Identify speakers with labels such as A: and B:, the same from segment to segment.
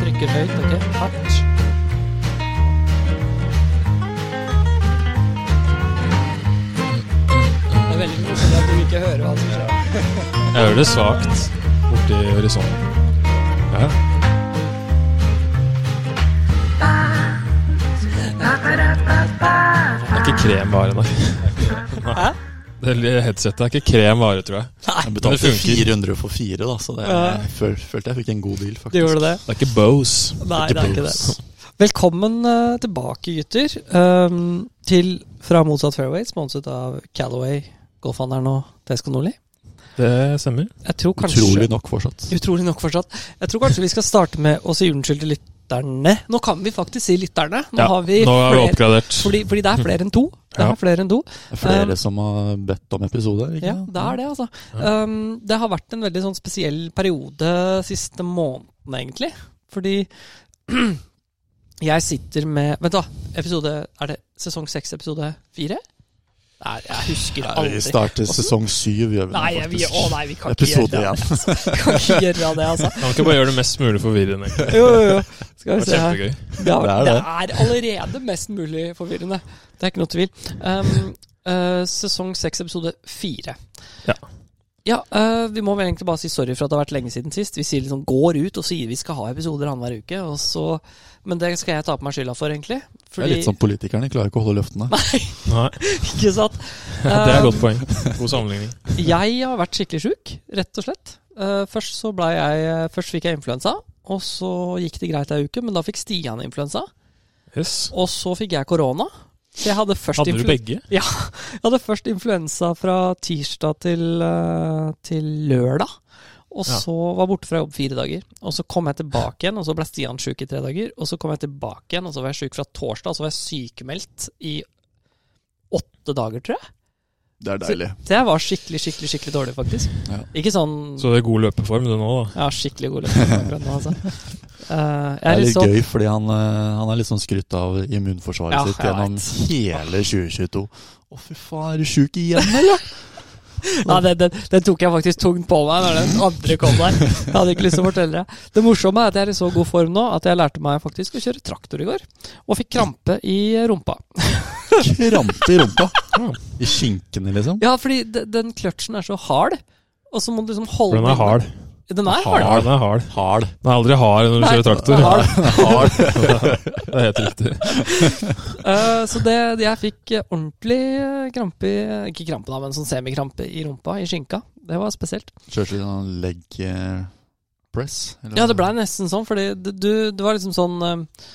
A: Trykker høyt, OK? Hardt.
B: Det er veldig koselig at du ikke hører hva som skjer.
C: Jeg hører det svakt borti horisonten. Ja. Det er ikke kremvare, nei.
B: Hæ?
C: Det lille headsetet er ikke kremvare, tror jeg.
D: Jeg
C: Men
D: betalte
C: det funker.
D: 400 for fire, da, så det,
B: Ja.
D: jeg føl, følte jeg fikk en god deal, faktisk.
B: Du gjorde det?
C: Det er ikke Bose.
B: Nei, det er ikke det.
D: Blues.
B: Velkommen eh, tilbake, gutter, ehm, til Fra motsatt fairway, sponset av Calaway, golfhandelen og Tesco Nordli.
C: Det stemmer.
B: Jeg tror kanskje
D: Utrolig nok fortsatt.
B: Utrolig nok fortsatt. Jeg tror kanskje vi skal starte med å si unnskyld til lytterne. Nå kan vi faktisk si lytterne. Nå
C: Ja,
B: har vi
C: Nå er vi
B: flere,
C: oppgradert.
B: fordi, fordi det er flere enn to. Det
C: Ja.
B: er flere enn to.
D: Det er flere
B: Um,
D: som har bedt om episoder, ikke
B: Ja, det er det, altså. Um, det har vært en veldig sånn spesiell periode siste måneden, egentlig. Fordi jeg sitter med Vent, da. Episode Er det sesong seks, episode fire? Nei, jeg husker
D: Nei, Vi
B: aldri.
D: starter sesong syv, gjør vi
B: Nei,
D: nå,
B: vi,
D: faktisk.
B: å nei, vi kan ikke gjøre
D: Episode
B: det.
D: én.
B: Vi kan ikke gjøre det, altså.
C: Kan ikke bare gjøre det mest mulig forvirrende. egentlig.
B: Jo, jo, jo. Skal
C: Det
B: vi
C: var
B: se her.
C: kjempegøy.
B: Det er,
D: Det
B: det
D: er
B: er allerede mest mulig forvirrende. Det er ikke noe tvil. Um, eh, sesong seks, episode fire.
C: Ja.
B: Ja, eh, vi må vel egentlig bare si sorry for at det har vært lenge siden sist. Vi sier liksom går ut og sier vi skal ha episoder annenhver uke, og så Men det skal jeg ta på meg skylda for, egentlig.
D: Det er
B: Fordi
D: litt sånn. som politikerne, klarer ikke å holde løftene.
C: Nei,
B: Ikke sant?
C: det er et
B: Um,
C: godt poeng. God sammenligning.
B: Jeg har vært skikkelig sjuk, rett og slett. Eh, først, så ble jeg, eh, først fikk jeg influensa, og så gikk det greit ei uke, men da fikk Stian influensa.
C: Yes.
B: Og så fikk jeg korona. Så jeg hadde først
C: Hadde du
B: influ-
C: begge?
B: Jeg hadde først influensa fra tirsdag til, eh, til lørdag. Og
C: Ja.
B: så var jeg borte fra jobb fire dager. Og så kom jeg tilbake igjen, og så ble Stian sjuk i tre dager. Og så kom jeg tilbake igjen, og så var jeg sjuk fra torsdag, og så var jeg sykemeldt i åtte dager, tror jeg.
D: Det er deilig.
B: Så jeg var skikkelig, skikkelig skikkelig dårlig, faktisk.
D: Ja.
B: Ikke sånn
C: Så det er god løpeform du nå, da.
B: Jeg har skikkelig god løsning akkurat nå, altså. Eh, jeg
D: Det
B: er
D: er
B: litt
D: litt
B: sånn
D: gøy, fordi han, eh, han er litt sånn skrytt av immunforsvaret
B: Ja,
D: sitt
B: jeg
D: gjennom hele 2022. Å, fy faen, er du sjuk igjen, eller?
B: Nei, den, den, den tok jeg faktisk tungt på meg når den andre kom der. Jeg hadde ikke lyst til å fortelle det. Det morsomme er at jeg er i så god form nå at jeg lærte meg faktisk å kjøre traktor i går. Og fikk krampe i rumpa.
D: Krampe i rumpa. I skinkene, liksom.
B: Ja, fordi de- den kløtsjen er så hard, og så må du liksom holde
C: For den er hard.
B: Den er hard.
C: Ja, den er hard.
D: Hard.
C: Den er aldri hard når du
B: Nei,
C: kjører
B: den
C: traktor.
B: er hard.
D: Hard.
C: Det er helt riktig.
B: Eh, så det, jeg fikk eh, ordentlig eh, krampe i Ikke krampe, da, men sånn semikrampe i rumpa, i skinka. Det var spesielt.
D: Kjørte litt sånn leg eh, press? eller?
B: Ja, det blei nesten sånn, fordi det, du, det var liksom sånn eh,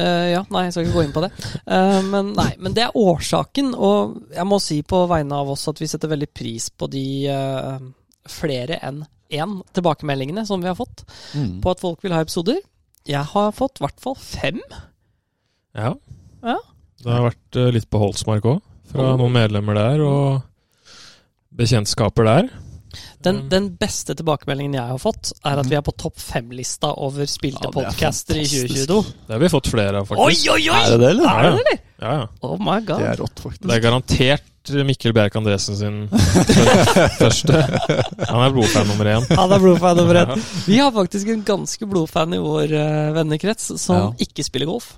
B: eh, Ja, nei, jeg skal ikke gå inn på det. Eh, men nei, men det er årsaken, og jeg må si på vegne av oss at vi setter veldig pris på de eh, flere enn én tilbakemeldingene som vi har fått
D: Mm.
B: på at folk vil ha episoder. Jeg har fått i hvert fall fem.
C: Ja.
B: Ja.
C: Det har vært eh, litt på Holsmark òg, fra
B: Oh.
C: noen medlemmer der og bekjentskaper der.
B: Den,
C: Mm.
B: den beste tilbakemeldingen jeg har fått, er at vi er på topp fem-lista over spilte
D: Mm. Ja, det er
B: podcaster i
D: fantastisk.
B: 2022.
C: Det har vi fått flere av,
B: Oi,
C: faktisk.
B: oi, oi!
D: Er det det, eller?
C: Er det det, eller? Ja, ja.
B: Oh my
D: Det
B: god.
D: er rått, faktisk.
C: Det er garantert eh, Mikkel Bjerk Andresen sin fø- første. Han er blodfan nummer én.
B: Han er blodfan nummer én. Vi har faktisk en ganske blodfan i vår eh, vennekrets som
D: Ja.
B: ikke spiller golf.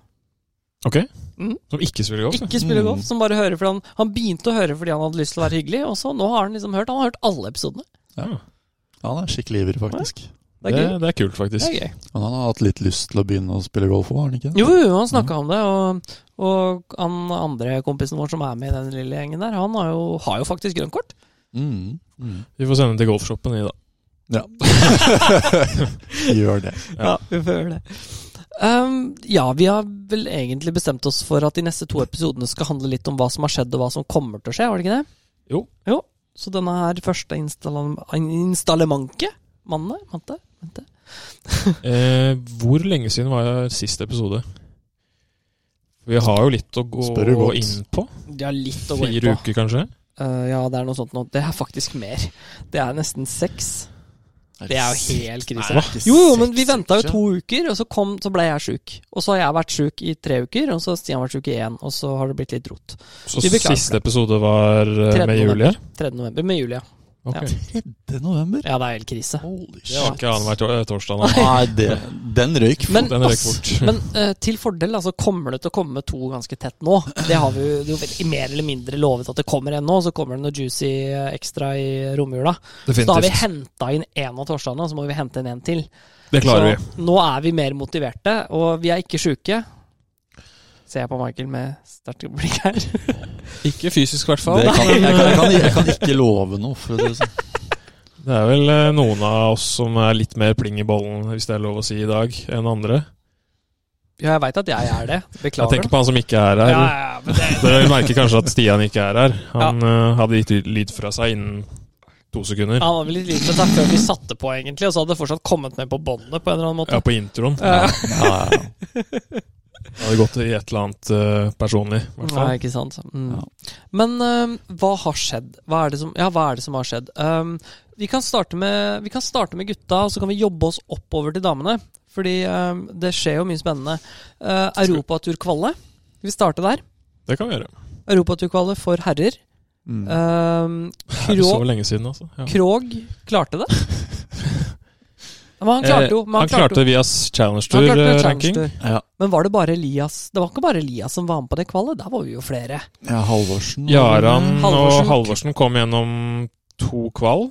C: Ok?
B: Mm.
C: Som ikke spiller golf?
B: Ikke spiller
D: Mm.
B: golf, som bare hører fordi han, han begynte å høre fordi han hadde lyst til å være hyggelig, og så nå har han liksom hørt Han har hørt alle episodene.
C: Ja.
D: Ja, han er skikkelig ivrig, faktisk.
B: Det
C: Det,
B: er gøy.
C: det er kult,
B: Det
C: faktisk.
B: er gøy.
D: Men han har hatt litt lyst til å begynne å spille golf òg, har han ikke? det?
B: Jo, jo, han snakka om det, og, og han andre kompisen vår som er med i den lille gjengen der, han har jo, har jo faktisk grønt kort.
D: Mm. Mm.
C: Vi får sende den til golfshoppen i, da.
D: Ja. Gjør det.
B: Ja, vi får gjøre det. Ehm, ja, vi har vel egentlig bestemt oss for at de neste to episodene skal handle litt om hva som har skjedd og hva som kommer til å skje, var det ikke det?
C: Jo.
B: Så denne her første installem installementet Manne? Mante? Mante?
C: Eh, hvor lenge siden var sist episode? Vi har jo litt å gå
D: Spør du godt.
C: inn på.
B: De har litt å gå inn
C: Fire
B: på.
C: uker, kanskje?
B: Eh, ja, det er noe sånt nå. Det er faktisk mer. Det er nesten seks. Det er jo helt krise.
C: Hva?
B: Jo, jo, men vi venta jo to uker, og så, kom, så ble jeg sjuk. Og så har jeg vært sjuk i tre uker, og så har Stian vært sjuk i én, og så har det blitt litt rot.
C: Så
B: Vi beklager.
C: siste episode var eh,
B: 13.
C: med Julie.
B: november. 3. november med Julia.
C: Ok.
B: Ja.
D: 3. november?
B: Ja, det er helt krise.
D: Holy
C: Det var
D: shit.
C: ikke annenhver tor eh, torsdag, nei.
D: Nei, det, den røyk.
B: Men,
C: Den røk
B: ass,
C: fort.
B: men eh, til fordel altså, kommer det til å komme to ganske tett nå. Det har vi jo, det er jo veldig, mer eller mindre lovet at det kommer en nå, så kommer det noe juicy eh, ekstra i romjula. Så da har vi
C: Definitivt.
B: henta inn én av torsdagene, og så må vi hente inn en til.
C: Det klarer vi.
B: så nå er vi mer motiverte, og vi er ikke sjuke. Ser jeg på Michael med sterkt blikk her.
C: Ikke fysisk, i hvert fall.
D: Det kan, jeg,
C: men,
D: kan, jeg,
C: eh,
D: kan, jeg kan ikke love noe. For det, sånn.
C: Det er vel eh, noen av oss som er litt mer pling i bollen, hvis det er lov å si i dag, enn andre.
B: Ja, jeg veit at jeg er det.
C: Jeg
B: Beklager.
C: tenker på han som ikke er
B: Ja,
C: her.
B: ja, ja, men det,
C: Dere merker kanskje at Stian ikke er her. Han eh, hadde gitt lyd fra seg innen to sekunder.
B: han hadde vel litt lite med seg før vi satte på, egentlig, og så hadde det fortsatt kommet med på båndet på en eller annen måte.
C: Ja, på introen.
B: Ja.
D: Ja, ja, ja.
C: Det hadde gått i et eller annet eh, personlig. i hvert
B: Nei,
C: fall.
B: ikke sant. Mm.
D: Ja.
B: Men øhm, hva har skjedd? Hva er det som, ja, hva er det som har skjedd? Øhm, vi, kan starte med, vi kan starte med gutta, og så kan vi jobbe oss oppover til damene. Fordi øhm, det skjer jo mye spennende. Uh, Europaturkvalle. Skal vi starte der?
C: Det kan vi gjøre.
B: Europaturkvalle for herrer.
D: Mm.
B: Øhm,
C: Det er så
B: Krog,
C: lenge siden, altså. Ja.
B: Krog klarte det. Ja, Men han klarte jo men
C: Eh, Han klarte via Challenge
B: han klarte Challenge
C: Tour-ranking.
B: Tour.
D: Ja.
B: Men var det bare Elias Det var ikke bare Elias som var med på det kvalet? Der var vi jo flere.
C: Mm.
D: ja, Halvorsen.
C: Jaran
B: Halvorsen.
C: og Halvorsen kom gjennom to kval,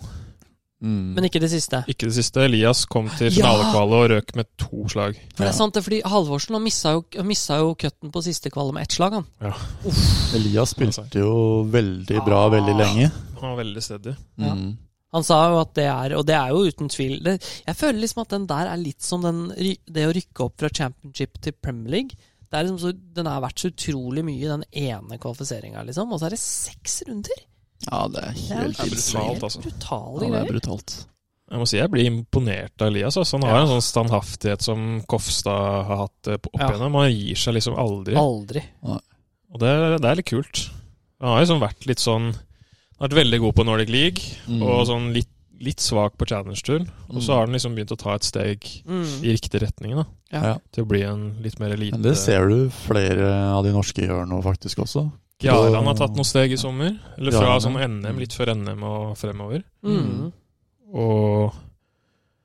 D: Mm.
B: Men ikke det siste.
C: ikke det siste. Elias kom til
B: Ja!
C: finalekvalet og røk med to slag.
B: For det er
D: Ja.
B: sant, det, fordi Halvorsen han missa jo, han missa jo cutten på siste kvalet med ett slag. han.
D: Elias spilte jo veldig bra veldig lenge.
C: Han var veldig steady.
B: Ja.
D: Mm.
B: Han sa jo at det er, og det er jo uten tvil det, Jeg føler liksom at den der er litt som den, ry- det å rykke opp fra championship til Premier League. Det er liksom så, den er verdt så utrolig mye, den ene kvalifiseringa, liksom. Og så er det seks runder!
D: Ja, det er
B: Det er
D: helt
C: Det er
D: insane.
C: brutalt, altså.
B: Brutale
D: Ja, det er
B: greier.
D: brutalt.
C: Jeg må si jeg blir imponert av Elias. Altså. Han har en sånn standhaftighet som Kofstad har hatt eh, på- opp
B: Ja.
C: igjennom. Han gir seg liksom aldri.
B: Aldri.
C: Og det, er- det er litt kult. Han har liksom vært litt sånn han har Vært veldig god på Nordic League
D: Mm.
C: og sånn litt, litt svak på Challenge-turen. Og så
D: Mm.
C: har han liksom begynt å ta et steg
B: Mm.
C: i riktig retning, da.
B: Ja.
D: Ja.
C: Til å bli en litt mer elite.
D: Men det ser du flere av de norske gjør nå, faktisk også.
C: Jaran har tatt noen steg i sommer. Eller fra
D: Jaran, ja.
C: sånn NM, litt før NM og fremover.
B: Mm.
C: Og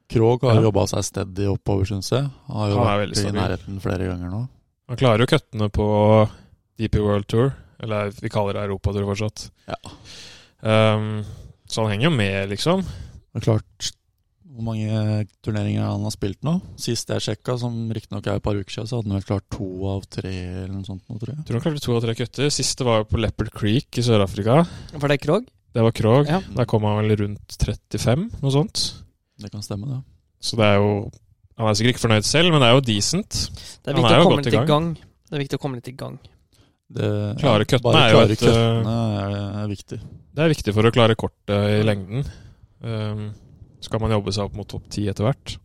D: Krog har
C: Ja.
D: jobba seg steady oppover, syns jeg. Han har jo
C: Han er veldig
D: vært i
C: stabil.
D: nærheten flere ganger nå.
C: han klarer jo køttene på DP World Tour. Eller vi kaller det Europatur fortsatt.
D: Ja.
C: Ehm, så han henger jo med, liksom.
D: Det er klart hvor mange turneringer han har spilt nå. Sist jeg sjekka, som riktignok er et par uker siden, så hadde han vel klart to av tre eller noe sånt nå, tror jeg.
C: Tror han klarte to av tre køtter. Siste var jo på Leopard Creek i Sør-Afrika.
B: For det er Krog?
C: Det var Krog.
B: Ja.
C: Der kom han vel rundt 35, noe sånt.
D: Det kan stemme, det.
C: Så det er jo Han er sikkert ikke fornøyd selv, men det er jo decent.
B: Det er
C: Han
B: viktig
C: er
B: å
C: jo
B: komme
C: godt i
B: litt i gang. Det er viktig å komme litt i gang.
D: det
C: Klare køttene
D: bare
C: er jo
D: klare
C: et, eh,
D: køttene er- er viktig.
C: Det er viktig for å klare kortet i lengden. Ehm, skal man jobbe seg opp mot topp ti etter hvert.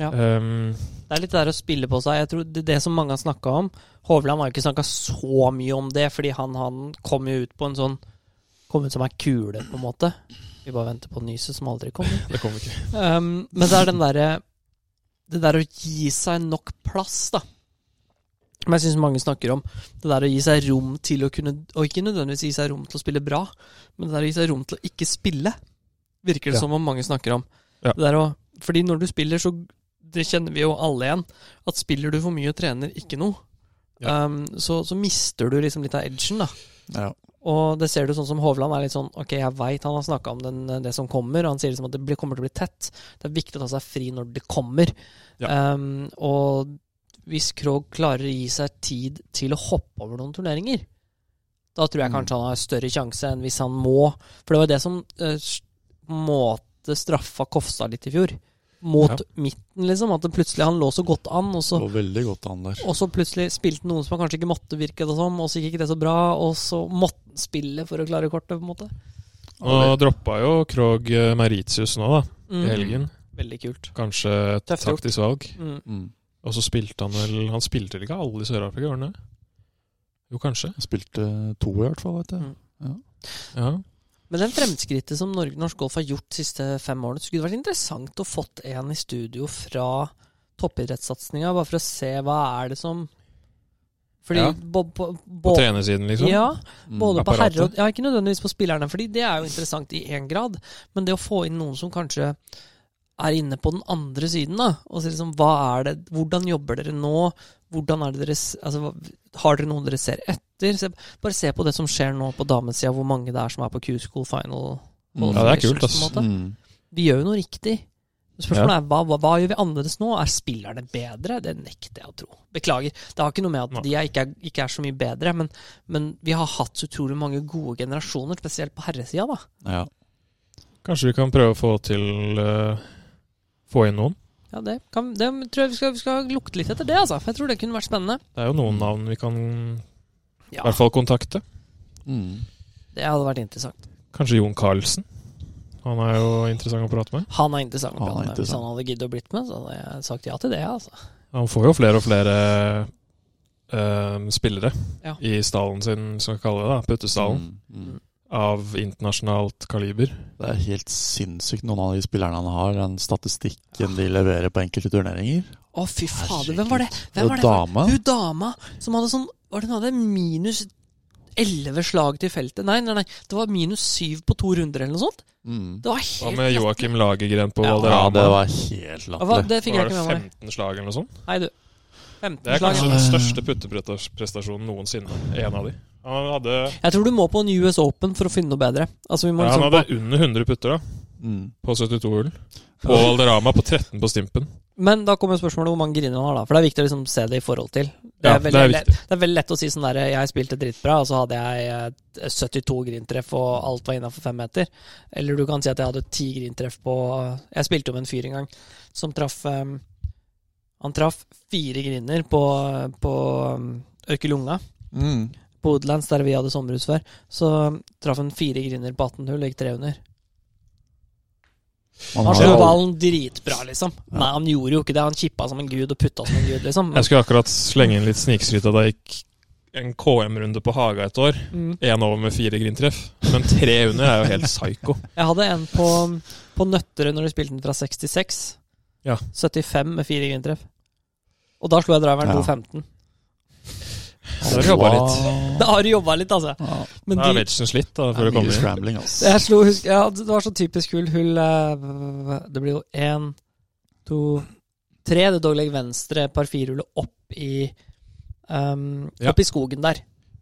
B: Ja.
C: Ehm,
B: Det er litt det der å spille på seg. Jeg tror Det, det som mange har snakka om Hovland har jo ikke snakka så mye om det, fordi han, han kom jo ut på en sånn Kom ut som ei kule, på en måte. Vi bare venter på nyset som aldri kommer.
C: det kommer ikke.
B: Um, men det er den derre Det der å gi seg nok plass, da. Som jeg syns mange snakker om. Det der å gi seg rom til å kunne Og ikke nødvendigvis gi seg rom til å spille bra, men det der å gi seg rom til å ikke spille, virker det
C: Ja.
B: som om mange snakker om.
C: Ja.
B: Det der å, fordi når du spiller, så Det kjenner vi jo alle igjen. At spiller du for mye og trener ikke noe,
C: Ja.
B: um, så, så mister du liksom litt av edgen, da.
D: Ja.
B: Og det ser du sånn som Hovland er litt sånn Ok, jeg veit han har snakka om den, det som kommer, og han sier liksom at det blir, kommer til å bli tett. Det er viktig å ta seg fri når det kommer. Um, og hvis Krog klarer å gi seg tid til å hoppe over noen turneringer, da tror jeg kanskje han har større sjanse enn hvis han må. For det var det som eh, s- måte straffa Kofstad litt i fjor. Mot
C: Ja.
B: midten, liksom. At det plutselig han lå så godt an, og så
D: Det var veldig godt an der.
B: og så plutselig spilte noen som han kanskje ikke måtte virke det som, og så gikk ikke det så bra, og så måtte han spille for å klare kortet, på en måte.
C: Og droppa jo Krog eh, Mauritius nå, da, i helgen.
B: Mm. Veldig kult.
C: Kanskje et
B: Tøft gjort.
C: taktisk valg.
B: Mm.
D: Mm.
C: Og så spilte han vel Han spilte vel ikke alle i Sør-Afrika, gjorde han det? Jo, kanskje.
D: Jeg spilte to i hvert fall, vet du.
B: Mm.
C: Ja.
B: Men den fremskrittet som Norge, norsk golf har gjort de siste fem årene, så skulle det vært interessant å fått en i studio fra toppidrettssatsinga, bare for å se hva er det som Fordi
D: Ja.
B: bo, bo, bo,
C: På trenersiden, liksom?
B: Ja,
D: Mm.
B: både på
C: apparatet.
B: herre og Ja, ikke nødvendigvis på spillerne, fordi det er jo interessant i én grad. Men det å få inn noen som kanskje er inne på den andre siden, da, og si liksom hva er det Hvordan jobber dere nå? Hvordan er det dere s- altså, hva- Har dere noen dere ser etter? Se, bare se på det som skjer nå på damesida, hvor mange det er som er på Q-school final.
D: Mm.
C: Ja, det er kult,
B: qualifications, på en måte.
D: Mm.
B: Vi gjør jo noe riktig. Spørsmålet er hva, hva, hva gjør vi annerledes nå? Er spillerne bedre? Det nekter jeg å tro. Beklager. Det har ikke noe med at
C: Nei.
B: de er ikke, er, ikke er så mye bedre, men, men vi har hatt så utrolig mange gode generasjoner, spesielt på herresida, da.
D: Ja.
C: Kanskje vi kan prøve å få til eh, Få inn noen?
B: Ja, det, kan, det tror jeg vi skal, vi skal lukte litt etter det, altså. For jeg tror det kunne vært spennende.
C: Det er jo noen navn vi kan i
B: Mm. Ja,
C: hvert fall kontakte.
D: Mm.
B: det hadde vært interessant.
C: Kanskje Jon Carlsen? Han er jo interessant å prate med.
B: Han er interessant. å
D: Han er
B: prate med. Hvis
D: interessant.
B: han hadde giddet å blitt med, så hadde jeg sagt ja til det, altså.
C: Han får jo flere og flere eh, spillere
B: Ja.
C: i stallen sin, som vi kaller det, da, puttestallen,
D: Mm. Mm.
C: av internasjonalt kaliber.
D: Det er helt sinnssykt, noen av de spillerne han har, den statistikken de leverer på enkelte turneringer.
B: Å, fy fader. Hvem var det?
D: Og
B: Hvem var det?
D: dama.
B: Hun dama som hadde sånn Var det hun hadde minus 11 slag til feltet? Nei, nei, nei. Det var minus 7 på to runder eller noe sånt.
D: Mm.
B: Det var
C: Hva
B: helt
C: med Joakim Lagergren på
B: Ja.
D: Ja, det
C: Valderama?
D: var helt
B: Ja, hva-
D: latterlig.
B: Det fikk jeg
C: var
B: ikke
C: det
B: med meg.
C: 15 slag eller noe sånt?
B: Nei, du.
C: Det
B: 15
C: er
B: slag.
C: kanskje
B: ja.
C: den største putteprestasjonen noensinne. En av de. Han hadde,
B: Jeg tror du må på en US Open for å finne noe bedre. Altså, vi må
C: ja, han
B: liksom
C: hadde under 100 putter da,
D: Mm.
C: på 72 hull. På Valderama på 13 på Stimpen.
B: Men da kommer spørsmålet hvor mange griner han har, da. For det er viktig å liksom se det i forhold til. Det
C: Ja,
B: er, veldig,
C: det er
B: lett, det er veldig lett å si sånn derre Jeg spilte dritbra, og så hadde jeg eh, 72 grintreff, og alt var innafor fem meter. Eller du kan si at jeg hadde ti grintreff på Jeg spilte jo med en fyr en gang som traff eh, Han traff fire griner på, på eh, Ørkelunga.
D: Mm.
B: På Woodlands, der vi hadde sommerhus før, så traff han fire griner på 18 hull, gikk tre under. Han
D: Man har
B: slo
D: jo-
B: ballen dritbra, liksom.
D: Ja.
B: Nei, han gjorde jo ikke det. Han chippa som en gud og putta som en gud, liksom.
C: Jeg skulle akkurat slenge inn litt snikskryt av da jeg gikk en KM-runde på Haga et år.
B: Mm.
C: Én over med fire grintreff. Men tre under er jo helt psycho.
B: Jeg hadde en på, på Nøtterøy når de spilte den fra 66.
C: Ja.
B: 75 med fire grintreff. Og da slo jeg driveren
D: Ja.
B: 2.15.
C: Så der jobba litt.
B: Da har du jobba litt, altså.
D: Ja,
B: Men
C: Da er
B: de,
C: Wedgen slitt da,
D: det
C: før det
D: er mye
C: kommer inn.
D: scrambling, altså.
B: jeg slo, husk, ja, det var så typisk hull. Hull eh, Det blir jo én, to, tre. Det dogleg venstre par firehullet opp i um,
C: Ja.
B: Opp i skogen der.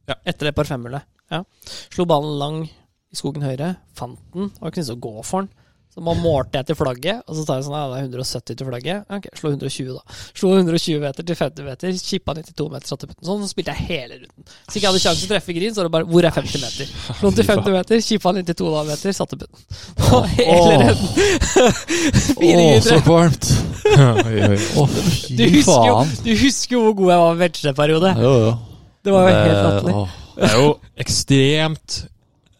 C: Ja.
B: Etter det par femhullet. Ja. Slo ballen lang i skogen høyre. Fant den. Det var ikke noe å gå for den. Så man målte jeg til flagget, og så tar jeg sånn, ja, det er 170 til flagget. Ok, slå 120 da. Slo 120 meter til 50 meter, chippa 92 meter, satte putten sånn, så spilte jeg hele runden. Hvis ikke jeg hadde sjanse til å treffe green, så var det bare, hvor er 50 meter? Slo den til 50 meter, chippa 92 da meter, satte putten. Og hele
D: Åh.
B: runden. Fire
D: Å, så
B: griner.
D: kvalmt!
C: Oi, oi.
D: Å,
B: Du
D: fy
B: husker, jo,
D: faen!
B: du husker jo hvor god jeg var med vetsjeperiode.
D: Jo, jo.
B: Det var jo helt
D: Det-
B: latterlig.
D: åh.
C: Det er jo ekstremt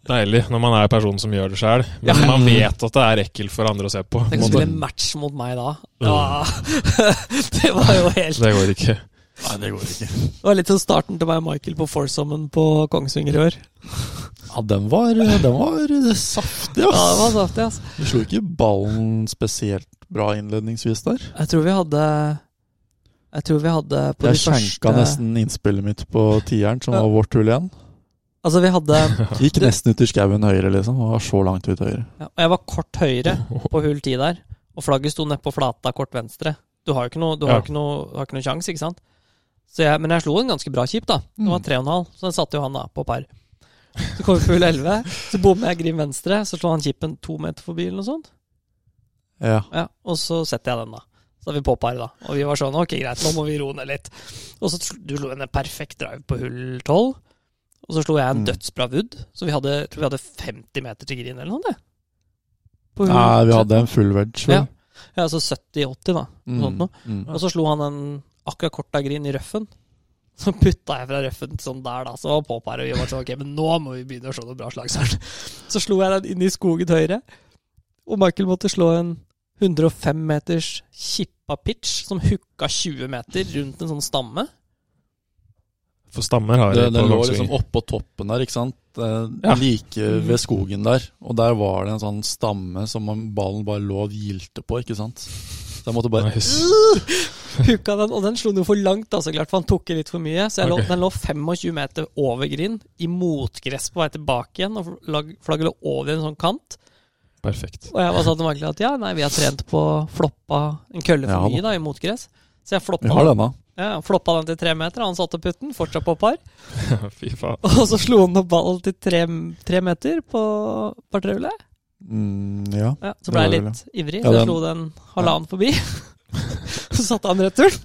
C: deilig når man er personen som gjør det sjøl. Men
B: Ja.
C: man vet at det er ekkelt for andre å se på.
B: Tenk å spille match mot meg da. Ja. Det var jo helt
C: Det går ikke.
D: Nei, det går ikke.
B: Det var litt sånn starten til meg og Michael på foursomen på Kongsvinger i år.
D: Ja, den var, den var saftig,
B: Ja, det var altså.
D: ass.
B: saftig, ass.
D: Du slo ikke ballen spesielt bra innledningsvis der.
B: Jeg tror vi hadde Jeg tror vi hadde på
D: Jeg
B: de
D: skjenka
B: første
D: nesten innspillet mitt på tieren, som var vårt hull igjen.
B: Altså, vi hadde
D: Gikk nesten ut i skauen høyre, liksom. og Var så langt ut høyre.
B: ja, Og jeg var kort høyre på hull 10 der, og flagget sto nedpå flata kort venstre. Du har jo ikke noe, du har
C: Ja.
B: jo ikke noe, du har ikke noe sjans, ikke sant? Så jeg, men jeg slo en ganske bra kjip, da. Det var
D: Mm.
B: tre og en halv, så den satte jo han da på par. Så kom vi på hull 11, så bommer jeg grim venstre, så slår han chipen to meter forbi eller noe sånt.
D: Ja.
B: Ja, og så setter jeg den, da. Så er vi på par, da. Og vi var sånn, ok, greit, nå må vi roe ned litt. Og så sl- du slo en perfekt drive på hull 12. Og så slo jeg en
D: Mm.
B: dødsbra wood, så vi hadde, tror vi hadde 50 meter til green eller noe sånt. det. På hull-
D: Nei, vi hadde en full wedge. vel?
B: Ja. Ja, så 70-80, da.
D: Mm,
B: sånt noe.
D: mm.
B: Og så slo han en akkurat kort av green i røffen. Så putta jeg fra røffen sånn der, da. Så var pop her, og vi var sånn Ok, men nå må vi begynne å slå noe bra slag. Søren. Så slo jeg den inn i skogen til høyre, og Michael måtte slå en 105 meters kippa pitch som hooka 20 meter rundt en sånn stamme.
C: For stammer har
D: Det,
C: jeg
D: det
C: på
D: lå
C: Kongsvinger.
D: liksom oppå toppen der, ikke sant? Eh,
C: Ja.
D: Like ved skogen der. Og der var det en sånn stamme som man- ballen bare lå og hvilte på, ikke sant? Da måtte bare
C: Nice.
B: Huka den, og den slo den jo for langt, da, så klart, for han tok i litt for mye. Så jeg lå,
C: Ok.
B: den lå 25 meter over green, i motgress på vei tilbake igjen, og flagg- flagget lå over en sånn kant.
C: Perfekt.
B: Og jeg bare sa til Michael at ja, nei, vi har trent på floppa en kølle for
D: Ja,
B: mye, da, i motgress. Så jeg floppa,
D: Vi har denne.
B: ja, floppa den til tre meter, han satte putten, fortsatt på par.
C: Fy faen.
B: Og så slo han opp ballen til tre, tre meter på partrehjulet.
D: Mm, ja.
B: Ja, så ble jeg
D: Det var
B: litt ivrig,
D: Ja,
B: så jeg
D: den-
B: slo den halvannen forbi. Så satte han returen,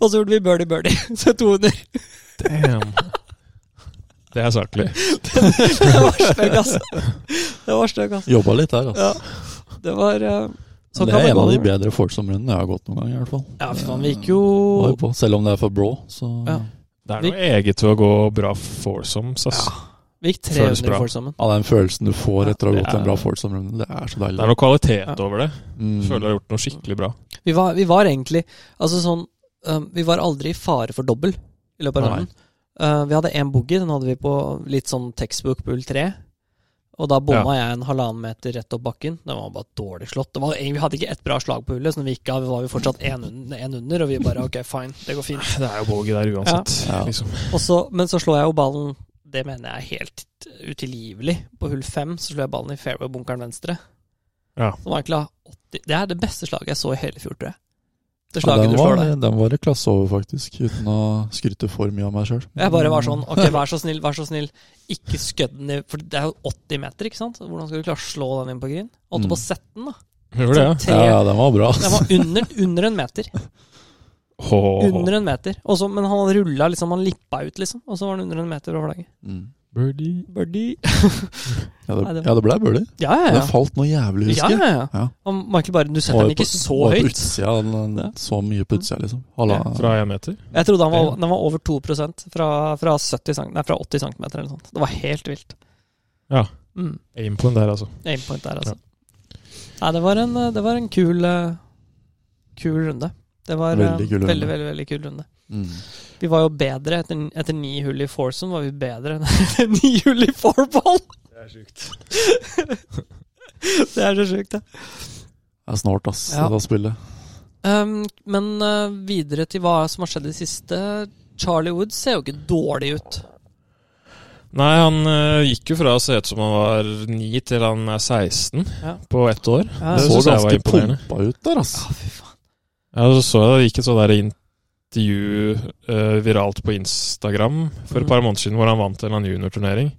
B: og så gjorde vi birdie-birdie. Så 200.
C: Damn. Det er saklig.
B: Det var stygg, altså. Det var stygg, altså.
D: Jobba litt der, altså.
B: Ja. Det var eh, sånn
D: det
B: kan
D: er
B: det
D: en
B: gå.
D: av de bedre foursome-rundene jeg har gått noen gang, i hvert fall.
B: Ja, fy faen, vi gikk jo
D: Var jo på, selv om det er for bro, så ja.
B: Ja.
C: Det er noe eget ved å gå bra foursomes, ass.
B: Vi gikk
C: Føles
B: 300
C: bra.
B: for sammen.
D: Den følelsen du får etter å ha
C: Ja, det
D: gått en
C: er-
D: bra foursome-runde, det er så
C: Det er
D: deilig.
C: noe kvalitet
B: Ja.
C: over det.
D: Mm.
C: Føler jeg har gjort noe skikkelig bra.
B: Vi var, vi var egentlig Altså sånn um, Vi var aldri i fare for dobbel i løpet av
D: Nei.
B: runden. Uh, vi hadde én boogie, den hadde vi på litt sånn textbook bull 3. Og da bomma jeg en halvannen meter rett opp bakken. Den var bare dårlig slått. Det var, egentlig- vi hadde ikke ett bra slag på hullet, så når vi gikk av, var vi fortsatt én under, en under, og vi bare OK, fine, det går fint.
C: Det er jo bogey der uansett.
D: Ja.
C: Liksom.
B: Og så, men så slår jeg jo ballen Det mener jeg er helt utilgivelig. På hull fem så slår jeg ballen i fairway-bunkeren venstre.
C: Ja.
B: Som egentlig har 80 Det er det beste slaget jeg så i hele fjor, tror jeg. Det
D: Ja,
B: slaget
D: den,
B: du slår
D: var,
B: der.
D: den var i klasse over, faktisk, uten å skryte for mye av meg sjøl.
B: Jeg bare var sånn
D: Mm.
B: Ok, vær så snill, vær så snill, ikke skudd den i For det er jo 80 meter, ikke sant? Hvordan skal du klare å slå den inn på green? Holdt på å
D: Mm.
B: sette den, da.
C: Gjør det, ja.
B: Sånn
D: Ja,
B: tre-
D: ja, den var bra. altså.
B: Den var under, under en meter.
C: Åh.
B: Under en meter. Og så- men han rulla liksom, han lippa ut, liksom. Og så var den under en meter over flagget.
D: Mm.
C: Birdie.
B: Birdie.
D: Ja,
B: Nei,
D: det,
B: det-
D: ja, det ble birdie.
B: Ja, ja,
D: Den
B: ja.
D: falt noe jævlig,
B: ja,
D: husker jeg.
B: ja, ja.
D: Ja.
B: Og Michael bare Du setter
D: Var
B: den
D: på-
B: ikke så
D: var På
B: høyt.
D: utsida, den,
B: Ja.
D: så mye på utsida, liksom. Hala,
C: Fra én meter.
B: Jeg trodde han var,
C: Ja.
B: den var over 2 fra, fra, 70 cent, nei, fra 80 cm eller noe sånt. Det var helt vilt.
C: Ja.
B: Mm.
C: Aim på den der, altså.
B: Aimpoint der, altså. Nei, det var en, eh, det var en kul, eh, kul runde. Det var eh,
D: Veldig kul runde.
B: veldig, veldig, veldig kul runde.
D: Mm.
B: Vi var jo bedre etter, etter ni hull i foursome, var vi bedre enn etter ni hull i fourball!
C: Det er sjukt.
B: Det er så sjukt, det.
D: Det er snålt, ass,
B: Ja.
D: det spillet.
B: Um, men eh, videre til hva som har skjedd i det siste. Charlie Woods ser jo ikke dårlig ut.
C: Nei, han eh, gikk jo fra å se ut som han var 9 til han er 16
B: Ja.
C: på ett år.
B: Ja,
C: Det
D: så
C: synes jeg var
D: ganske
C: imponerende.
D: pumpa ut der, ass.
B: Ja, fy faen.
C: Ja, så så jeg det gikk et sånt der intervju eh, viralt på Instagram for et
B: Mm.
C: par måneder siden, hvor han vant en eller annen juniorturnering.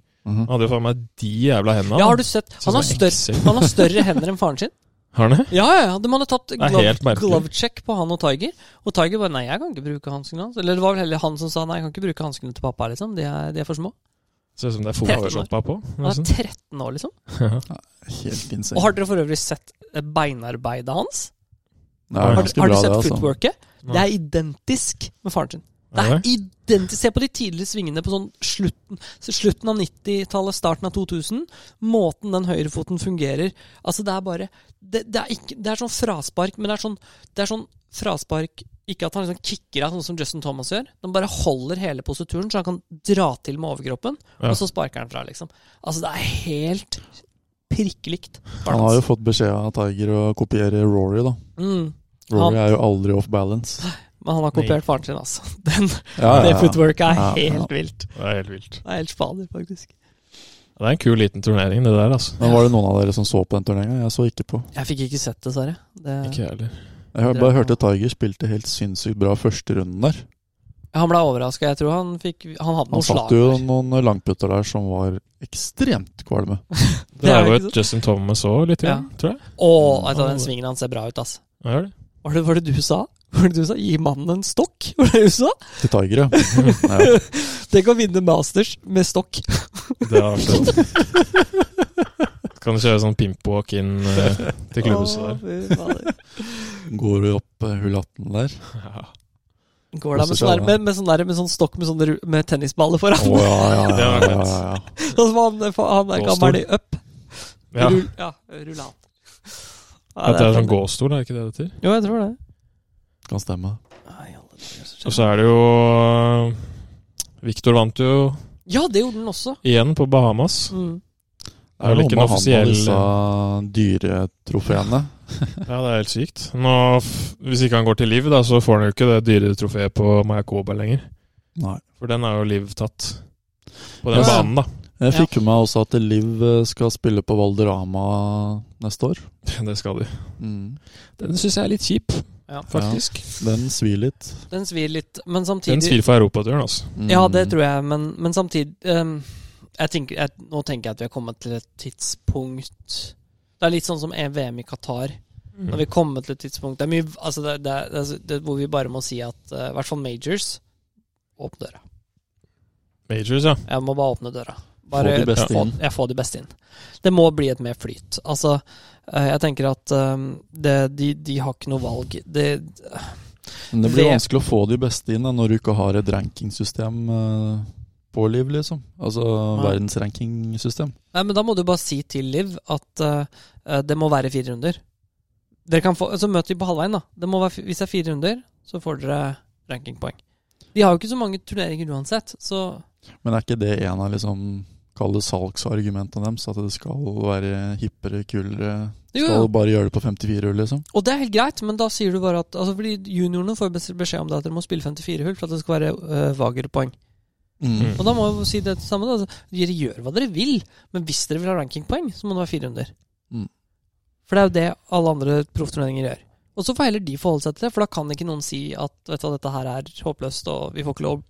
C: Han
D: Mhm.
C: hadde jo faen meg de jævla hendene.
B: Ja, har du sett? Han
D: sånn
B: har, større, han har større hender enn faren sin.
C: Har han det?
B: Ja, ja, ja. De hadde tatt
C: er helt
B: glove,
C: merkelig.
B: glove check på han og Tiger. Og Tiger bare 'nei, jeg kan ikke bruke hanskene hans'. Eller det var vel heller han som sa 'nei, jeg kan ikke bruke hanskene til pappa', liksom. De er, de er for små.
C: Ser ut som det er
B: Tretton år.
C: photoshoppa på.
B: Han er
C: nesten.
B: 13 år, liksom.
D: Helt
B: Og
D: insane.
B: har dere for øvrig sett eh, beinarbeidet hans?
D: det er
C: Har-
B: Har,
D: ganske
B: har
D: bra,
B: dere
D: det,
B: sett
D: altså.
B: footworket? Det
C: Nei.
B: er identisk med faren sin. Det
C: Er
B: er
C: det?
B: identisk. Se på de tidlige svingene på sånn slutten, slutten av 90-tallet, starten av 2000. Måten den høyrefoten fungerer Altså, det er bare Det, det, er, ikke, det er sånn fraspark, men det er sånn, det er sånn fraspark Ikke at han liksom kicker av, sånn som Justin Thomas gjør. Han bare holder hele posituren, så han kan dra til med overkroppen,
C: Ja.
B: og så sparker han fra, liksom. Altså, det er helt prikk likt.
D: Han har jo fått beskjed av Tiger å kopiere Rory, da.
B: Mm.
D: Rory er jo aldri off balance.
B: Men han har
C: Nei.
B: kopiert faren sin, altså. Den,
D: Ja, ja,
B: Ah, Det
D: ja.
B: footworket er
D: Ja, ja.
B: helt vilt.
C: Det er helt vilt.
B: Det er helt spader, faktisk.
C: Det er en kul liten turnering, det der, altså.
D: Men var det noen av dere som så på den turneringa? Jeg så ikke på.
B: Jeg fikk ikke sett, dessverre. Det,
C: Ikke jeg heller.
D: Jeg hør-
B: Dere-
D: bare hørte Tiger spilte helt sinnssykt bra første runden der.
B: Han ble overraska. Jeg tror han fikk Han hadde
D: Han
B: noen slag.
D: satte jo
B: der.
D: noen langputter der som var ekstremt kvalme.
B: Ah.
C: Det
B: er
C: er jo
B: ikke
C: et Justin Thomas òg, litt,
B: Ja.
C: grann, tror jeg.
B: Å, vet du hva, den svingen hans ser bra ut, ass.
C: Ja, gjør det.
B: Var det var det du sa? Var det du sa? Gi mannen en stokk? Var det du sa?
D: Til Tiger, ja. ja.
B: Tenk å vinne Masters med stokk.
C: Det har skjedd. Kan du kjøre sånn pimp-walk inn eh, til klubbhuset der?
B: Å, fy fader.
D: Går du opp eh, hull 18 der?
C: Ja.
B: Går der med sånn, der, med, med sånn der med sånn stokk med, sånn, ru- med tennisballer
D: Å
B: foran.
D: ja, ja, ja.
C: Det var
D: ja,
C: fett.
D: ja, ja.
B: Sånn som han, han er
C: Gåstol.
B: gammel i up.
C: Ja.
B: Rull, ja, rullat. Ja,
C: At det er sånn gåstol, er det ikke det det heter?
B: Jo, jeg tror det.
D: Kan stemme.
B: Nei, alle dager, så
C: Og så er det jo Victor vant jo
B: Ja, det gjorde den også.
C: igjen på Bahamas.
B: Mm.
D: Det er vel ikke
C: noe
D: noe han på
C: offisiell- eh,
D: disse dyretrofeene.
C: Ja, det er helt sykt. Nå, f- hvis ikke han går til Liv, da, så får han jo ikke det dyre trofeet på Maya Koberg lenger.
D: Nei.
C: For den er jo Liv tatt. På den
B: Ja.
C: banen, da.
D: Jeg
B: Ja.
D: fikk med meg også at Liv eh, skal spille på Valderama neste år.
C: Det skal de.
D: Mm.
C: Den syns jeg er litt kjip,
B: Ja.
C: faktisk.
D: Den svir litt.
B: Den svir litt, men
C: Den
B: samtidig
C: svir for europaturen, altså.
B: Ja,
D: Mm.
B: det tror jeg, men, men samtidig ehm, jeg tenker, jeg, Nå tenker jeg at vi har kommet til et tidspunkt Det er litt sånn som VM i Qatar. Når vi kommer til et tidspunkt Det er mye altså det, det, det, det, Hvor vi bare må si at eh, I hvert fall majors Åpne døra.
C: Majors, ja.
B: Jeg må bare åpne døra.
D: Få
B: Bare
D: de beste
B: få,
D: inn.
B: Jeg får de beste inn. Det må bli et mer flyt. Altså, eh, jeg tenker at eh, det, de, de har ikke noe valg. Det,
D: Men det blir
B: Ved-
D: vanskelig å få de beste inn da, når du ikke har et rankingsystem eh, på Liv, liksom. Altså verdensrankingsystem.
B: Nei, men da må du bare si til Liv at eh, eh, det må være fire runder. Dere kan få, så møter vi på halvveien, da. Det må være, fi- hvis det er fire runder, så får dere rankingpoeng. De har jo ikke så mange turneringer uansett, så
D: Men er ikke det en av liksom Kall det salgsargumentene deres, at det skal være hippere, kulere.
B: jo,
D: Skal
B: jo.
D: bare gjøre det på 54 hull, liksom.
B: Og det er helt greit, men da sier du bare at altså, Fordi juniorene får bes- beskjed om det at dere må spille 54 hull for at det skal være uh, Vager-poeng.
C: Mm.
B: Og da må jeg jo si det samme. Da. Altså, Dere gjør hva dere vil, men hvis dere vil ha rankingpoeng, så må det være fire runder.
D: Mm.
B: For det er jo det alle andre proffturneringer gjør. Og så får heller de forholde seg til det, for da kan ikke noen si at vet du, hva, dette her er håpløst, og vi får ikke lov.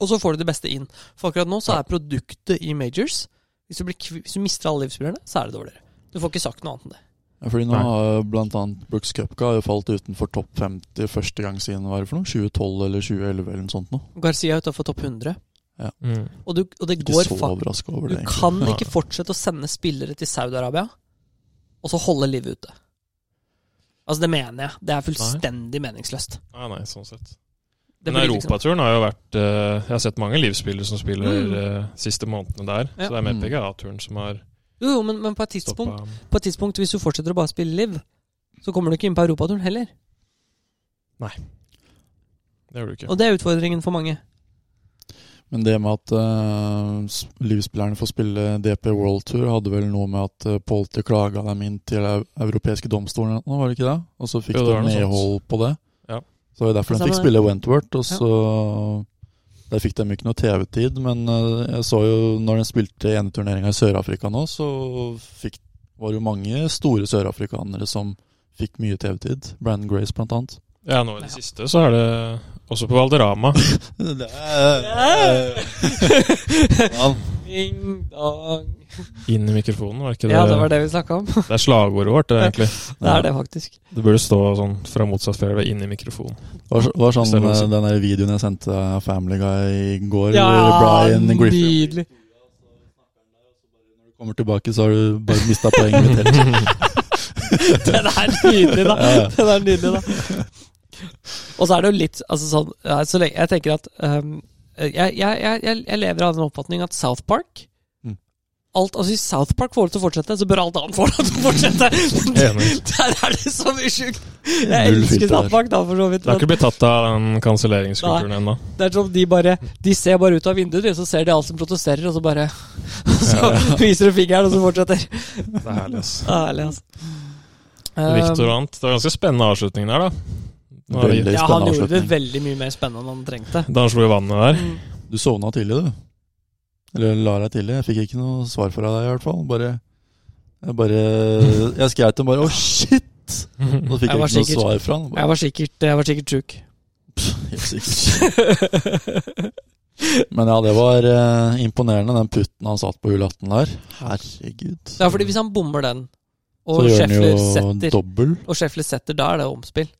B: Og så får du det beste inn. For akkurat nå så er produktet i majors Hvis du, blir, kvi- hvis du mister alle livsspillerne, så er det dårligere. Du får ikke sagt noe annet enn det.
D: Ja, fordi nå
C: Nei.
D: har jo blant annet Brooks Cupka har jo falt utenfor topp 50 første gang siden hva er det for noe? 2012 eller 2011 eller noe sånt noe.
B: Garcia er utafor topp 100,
C: Mm.
B: og, du, og det
D: Ikke
B: går
D: så
B: fa-
D: overraska over
B: Du
D: det. egentlig.
B: kan
C: Nei.
B: ikke fortsette å sende spillere til Saudi-Arabia og så holde livet ute. Altså, det mener jeg. Det er fullstendig meningsløst.
C: Ah, nei, sånn sett.
B: Det
C: Men
B: blir liksom-
C: europaturen har jo vært eh, Jeg har sett mange livsspillere som spiller
B: Mm.
C: eh, siste månedene der.
B: Ja.
C: Så det er mer
D: Mm.
C: PGA-turen som har
B: Jo, jo, men, men på, et tidspunkt,
C: stoppa
B: på et tidspunkt, hvis du fortsetter å bare spille liv, så kommer du ikke inn på europaturen heller.
C: Det gjør du ikke.
B: Og det er utfordringen for mange.
D: Men det med at eh, s- livsspillerne får spille DP World Tour, hadde vel noe med at uh, Polti klaga dem inn til den europeiske domstolen, eller noe, var det ikke det? Og så fikk
C: Jo, det var
D: de
C: noe sånt.
D: medhold på det.
C: Ja.
D: Så det var derfor
B: Så
D: de fikk
B: var-
D: spille Wentworth, og så Der fikk de ikke noe TV-tid, men eh, jeg så jo når de spilte eneturneringa i Sør-Afrika nå, så fikk, var det jo mange store sørafrikanere som fikk mye TV-tid. Brandon Grace, blant annet.
C: Ja, nå i det
B: Ja.
C: siste så er det også på Valderama.
D: Det
B: Ding dong.
C: Inn i mikrofonen, var ikke det?
B: Ja, det var det vi snakka om.
C: Det er slagordet vårt, det, egentlig.
B: Det er det, faktisk.
C: Det burde stå sånn fra motsatt fairway inn i mikrofonen.
D: var, så- var sånn
C: Stemmer også.
D: eh, den der videoen jeg sendte Family Guy i går, hvor
B: Ja,
D: Brian Griffin
B: nydelig.
D: kommer tilbake, så har du bare mista poenget ditt helt.
B: Den er nydelig, da.
D: Ja, ja.
B: Den er nydelig, da. Og så er det jo litt altså sånn ja, så lenge, Jeg tenker at ehm, jeg, jeg, jeg, jeg- jeg lever av den oppfatning at South Park
D: Mm.
B: Alt, altså Hvis South Park får det til å fortsette, så bør alt annet få det til å fortsette!
C: Enig.
B: Der er det så mye sjukt! Jeg
D: Null
B: elsker
D: filter
B: South
D: der.
B: Park, da, for så vidt.
C: Det har ikke blitt tatt av den kanselleringskulturen ennå.
B: men Det er som de bare De ser bare ut av vinduet, de, så ser de alt som protesterer, og så bare Så viser du fingeren, og så fortsetter.
C: Det er herlig, ass.
B: Ærlig, altså. Um,
C: Victor vant. Det var ganske spennende avslutning der, da. Nå er det-
D: Veldig
B: Ja, han gjorde
D: spennende
B: det
D: avslutning.
B: veldig mye mer spennende enn han trengte.
C: Da han slo i vannet der.
B: Mm.
D: Du sovna tidlig, du. Eller la deg tidlig. Jeg fikk ikke noe svar fra deg, i hvert fall. Bare Jeg, bare, jeg skrev til ham bare 'Å, shit!' Og så fikk
B: Jeg
D: jeg,
B: var
D: ikke
B: sikker.
D: noe svar fra han.
B: Jeg
D: Bare,
B: var sikkert, jeg var sikkert sjuk.
D: helt sikkert. Men ja, det var eh, imponerende, den putten han satt på hull 18 der. Herregud.
B: ja, fordi hvis han bommer den,
D: Så
B: og
D: gjør han
B: Scheffler
D: jo
B: setter,
D: dobbel.
B: og Scheffler setter, da er det omspill.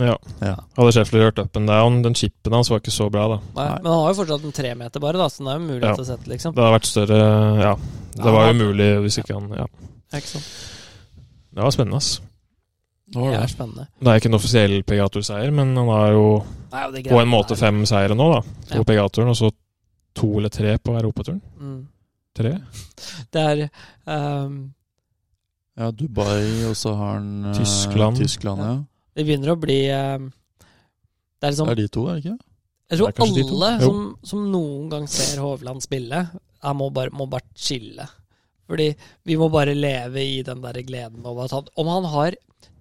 C: Ja.
D: Ja.
C: Hadde Schäffler gjort up and down, den chipen hans var ikke så bra, da.
B: Nei.
D: Nei.
B: Men han har jo fortsatt en tremeter, bare, da, så det er jo mulighet
C: Ja.
B: til å sette, liksom.
C: Det hadde vært større Ja. Det
B: Ja,
C: var
B: han-
C: umulig hvis ikke han Ja.
B: Det er ikke sant.
C: Det var spennende, ass.
D: Hva
B: Det
D: var det?
B: er spennende.
C: Det er ikke en offisiell PGA-tour-seier, men han har jo
B: Nei, og det
C: på
B: greiene
C: en måte
B: der.
C: fem seire nå, da.
B: Ja.
C: To på PGA-turen, og så to eller tre på Europaturen.
B: Mm.
C: Tre?
B: Det er ehm,
D: Ja, Dubai, og så har han eh,
C: Tyskland.
D: Tyskland ja.
B: Det begynner å bli ehm, Det er liksom
D: Det er de to, er det
B: Jeg
D: ikke?
C: Det er
B: tror
C: kanskje de to.
B: alle
C: Jo.
B: som, som noen gang ser Hovland spille, jeg må bare, må bare chille. Fordi vi må bare leve i den der gleden over at han Om han har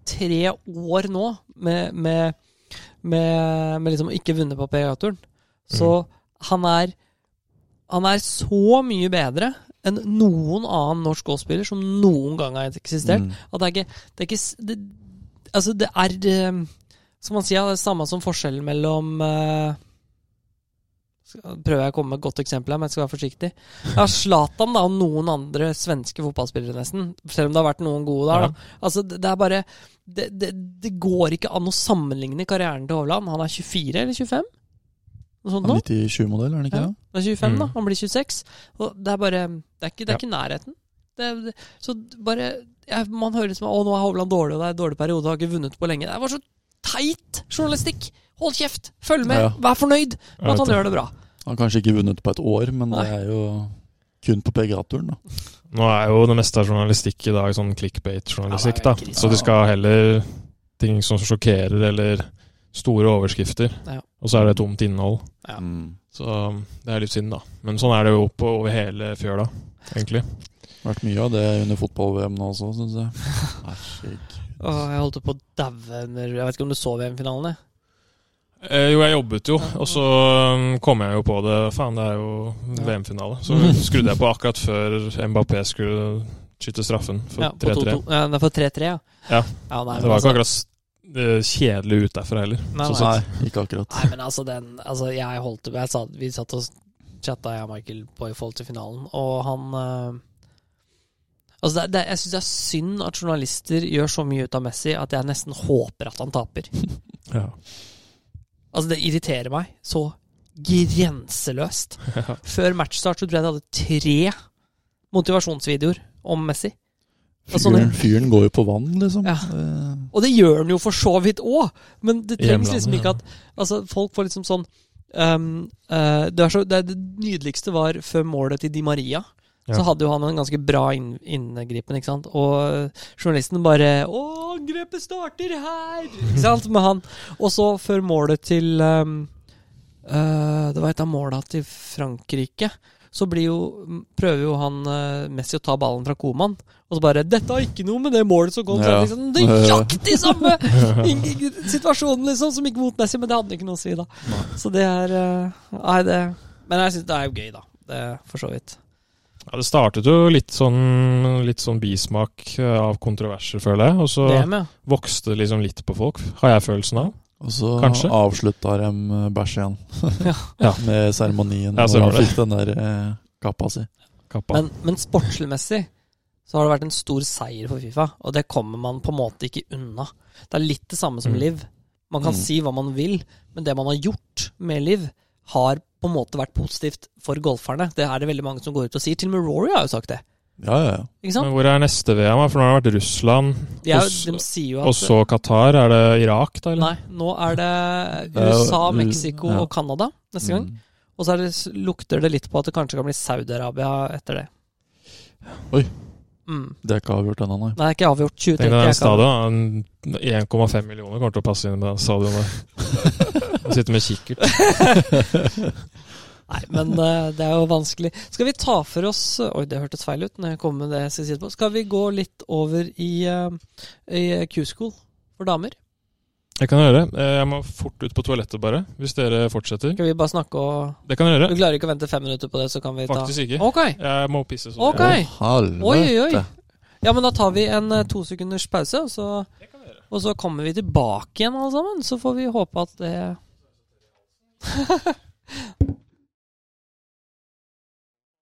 B: tre år nå med, med, med, med liksom ikke vunnet på PGA-turen,
C: Mhm.
B: så han er han er så mye bedre enn noen annen norsk golfspiller som noen gang har eksistert.
D: Mm.
B: At det er ikke, det er ikke s- det, Altså, det er eh, Som man sier, det er samme som forskjellen mellom eh, skal- Prøver jeg å komme med et godt eksempel her, men jeg skal være forsiktig. Ja, Zlatan da, og noen andre svenske fotballspillere, nesten. Selv om det har vært noen gode der,
C: Ja.
B: da. Altså, det, det er bare det, det, det går ikke an å sammenligne karrieren til Hovland. Han er 24 eller 25? Noe sånt nå?
D: 97-modell, er han ikke
B: Ja.
D: det?
B: Han er 25, da.
C: Mm.
B: Han blir 26. Og det er bare Det er ikke, det er
C: Ja.
B: ikke nærheten. Det, er- det, så bare jeg, Man hører liksom Å, nå er Hovland dårlig, og det er en dårlig periode, og har ikke vunnet på lenge. Det var så teit journalistikk! Hold kjeft! Følg med!
D: Ja.
B: Vær fornøyd med
C: Jeg
B: at
C: vet
B: han gjør det bra.
D: Han har kanskje ikke vunnet på et år, men det
B: Nei.
D: er jo kun på PGA-turen. da.
C: Nå er jo det meste av journalistikk i dag sånn clickbait-journalistikk, da.
B: Ja, det er jo krise.
C: Så de skal heller ting som sjokkerer, eller store overskrifter.
B: Ja.
C: Og så er det tomt innhold.
B: Ja.
D: Mm.
C: Så um, det er litt synd, da. Men sånn er det jo på over hele fjøla, egentlig.
D: Vært mye av det under fotball-VM nå også, syns jeg. Herregud.
B: Å, jeg holdt på å daue under Jeg vet ikke om du så VM-finalen, jeg.
C: Eh, jo, jeg jobbet jo, og så um, kom jeg jo på det. Faen, det er jo
B: Ja.
C: VM-finale. Så skrudde jeg på akkurat før Mbappé skulle skyte straffen for
B: Ja, på
C: 3-3.
B: 2-2. Ja, det er for 3-3, ja.
C: Ja.
B: nei, men
C: Det var
B: altså-
C: ikke akkurat s- eh, kjedelig ut derfra heller.
B: Nei,
C: sånn
B: nei.
C: sett.
D: Nei, ikke akkurat.
B: Nei, men altså, den altså, jeg holdt, jeg sa, Vi satt og chatta, jeg og Michael, på i forhold til finalen, og han eh, Altså, det, det, Jeg syns det er synd at journalister gjør så mye ut av Messi at jeg nesten håper at han taper.
C: Ja.
B: Altså, det irriterer meg så grenseløst. Før matchstart så tror jeg jeg hadde tre motivasjonsvideoer om Messi. Og sånn-
D: Fyren, fyren går jo på vann, liksom.
B: Ja.
D: Eh,
B: Og det gjør den jo for så vidt òg, men det trengs
C: Hjemlandet,
B: liksom ikke
C: ja.
B: at altså, Folk får liksom sånn ehm, eh, det, er så, det, er det nydeligste var før målet til Di Maria. Så
C: Ja.
B: hadde jo han en ganske bra inn, inngripen, ikke sant. Og eh, journalisten bare 'Å, angrepet starter her!' Ikke sant, med han. Og så før målet til ehm, eh, Det var et av måla til Frankrike. Så blir jo, prøver jo han eh, Messi å ta ballen fra Koman, og så bare 'Dette har ikke noe med det målet som kom.' Så
D: Ja.
B: er det liksom, det er nøyaktig samme Ingen- situasjonen liksom som gikk mot Messi, men det hadde ikke noe å si, da. Så det er eh, Nei, det Men jeg syns det er jo gøy, da. Det For så vidt.
C: Ja, det startet jo litt sånn, litt sånn bismak eh, av kontroverser, føler jeg. Og så
B: VM, ja.
C: vokste det liksom litt på folk, har jeg følelsen av.
D: Og så
C: Kanskje.
D: avslutta de eh, bæsj igjen.
C: Ja.
D: Med seremonien.
C: Ja, så
D: når
C: var
D: han
C: det.
D: fikk den der eh, kappa si.
C: Kappa.
B: Men, men sportslig-messig så har det vært en stor seier for Fifa, og det kommer man på en måte ikke unna. Det er litt det samme som
C: Mm.
B: Liv. Man kan
D: Mm.
B: si hva man vil, men det man har gjort med Liv, har på en måte vært positivt for golferne. Det er det veldig mange som går ut og sier. Til og med Rory har jo sagt det.
D: Ja, ja, ja.
B: Ikke
C: Men
B: sant?
C: hvor er neste VM? da? For nå har det vært Russland,
B: De, er,
C: og
B: jo-
C: så-
B: de sier jo at
C: og så Qatar. Er det Irak, da? Eller?
B: Nei, nå er det
D: Det er jo-
B: USA, Mexico
D: ja.
B: og Canada neste gang.
D: Mm.
B: Og så er det, lukter det litt på at det kanskje kan bli Saudi-Arabia etter det.
D: Oi.
B: Mm.
D: Det er ikke avgjort ennå, nei.
B: Nei, det er ikke avgjort.
C: Tenk
B: 2030
C: deg
B: er ikke
C: den
B: avgjort.
C: stadion. da. En- 1,5 millioner kommer til å passe inn med den stadion der. Og sitte med kikkert.
B: Nei, men eh, det er jo vanskelig. Skal vi ta for oss Oi, det hørtes feil ut når jeg kom med det jeg skal si etterpå. Skal vi gå litt over i, eh, i Q-school for damer?
C: Jeg kan gjøre. Eh, Jeg må fort ut på toalettet, bare. Hvis dere fortsetter.
B: Skal vi bare snakke og
C: Det kan jeg
B: Du
C: gjøre.
B: klarer ikke å vente fem minutter på det, så kan vi ta
C: Faktisk ikke.
B: Ok.
C: Jeg må pisse. sånn.
B: Ok.
D: Å, helvete.
B: Oi, oi, oi. Ja, men da tar vi en eh, to sekunders pause, og så, og så kommer vi tilbake igjen alle sammen. Så får vi håpe at det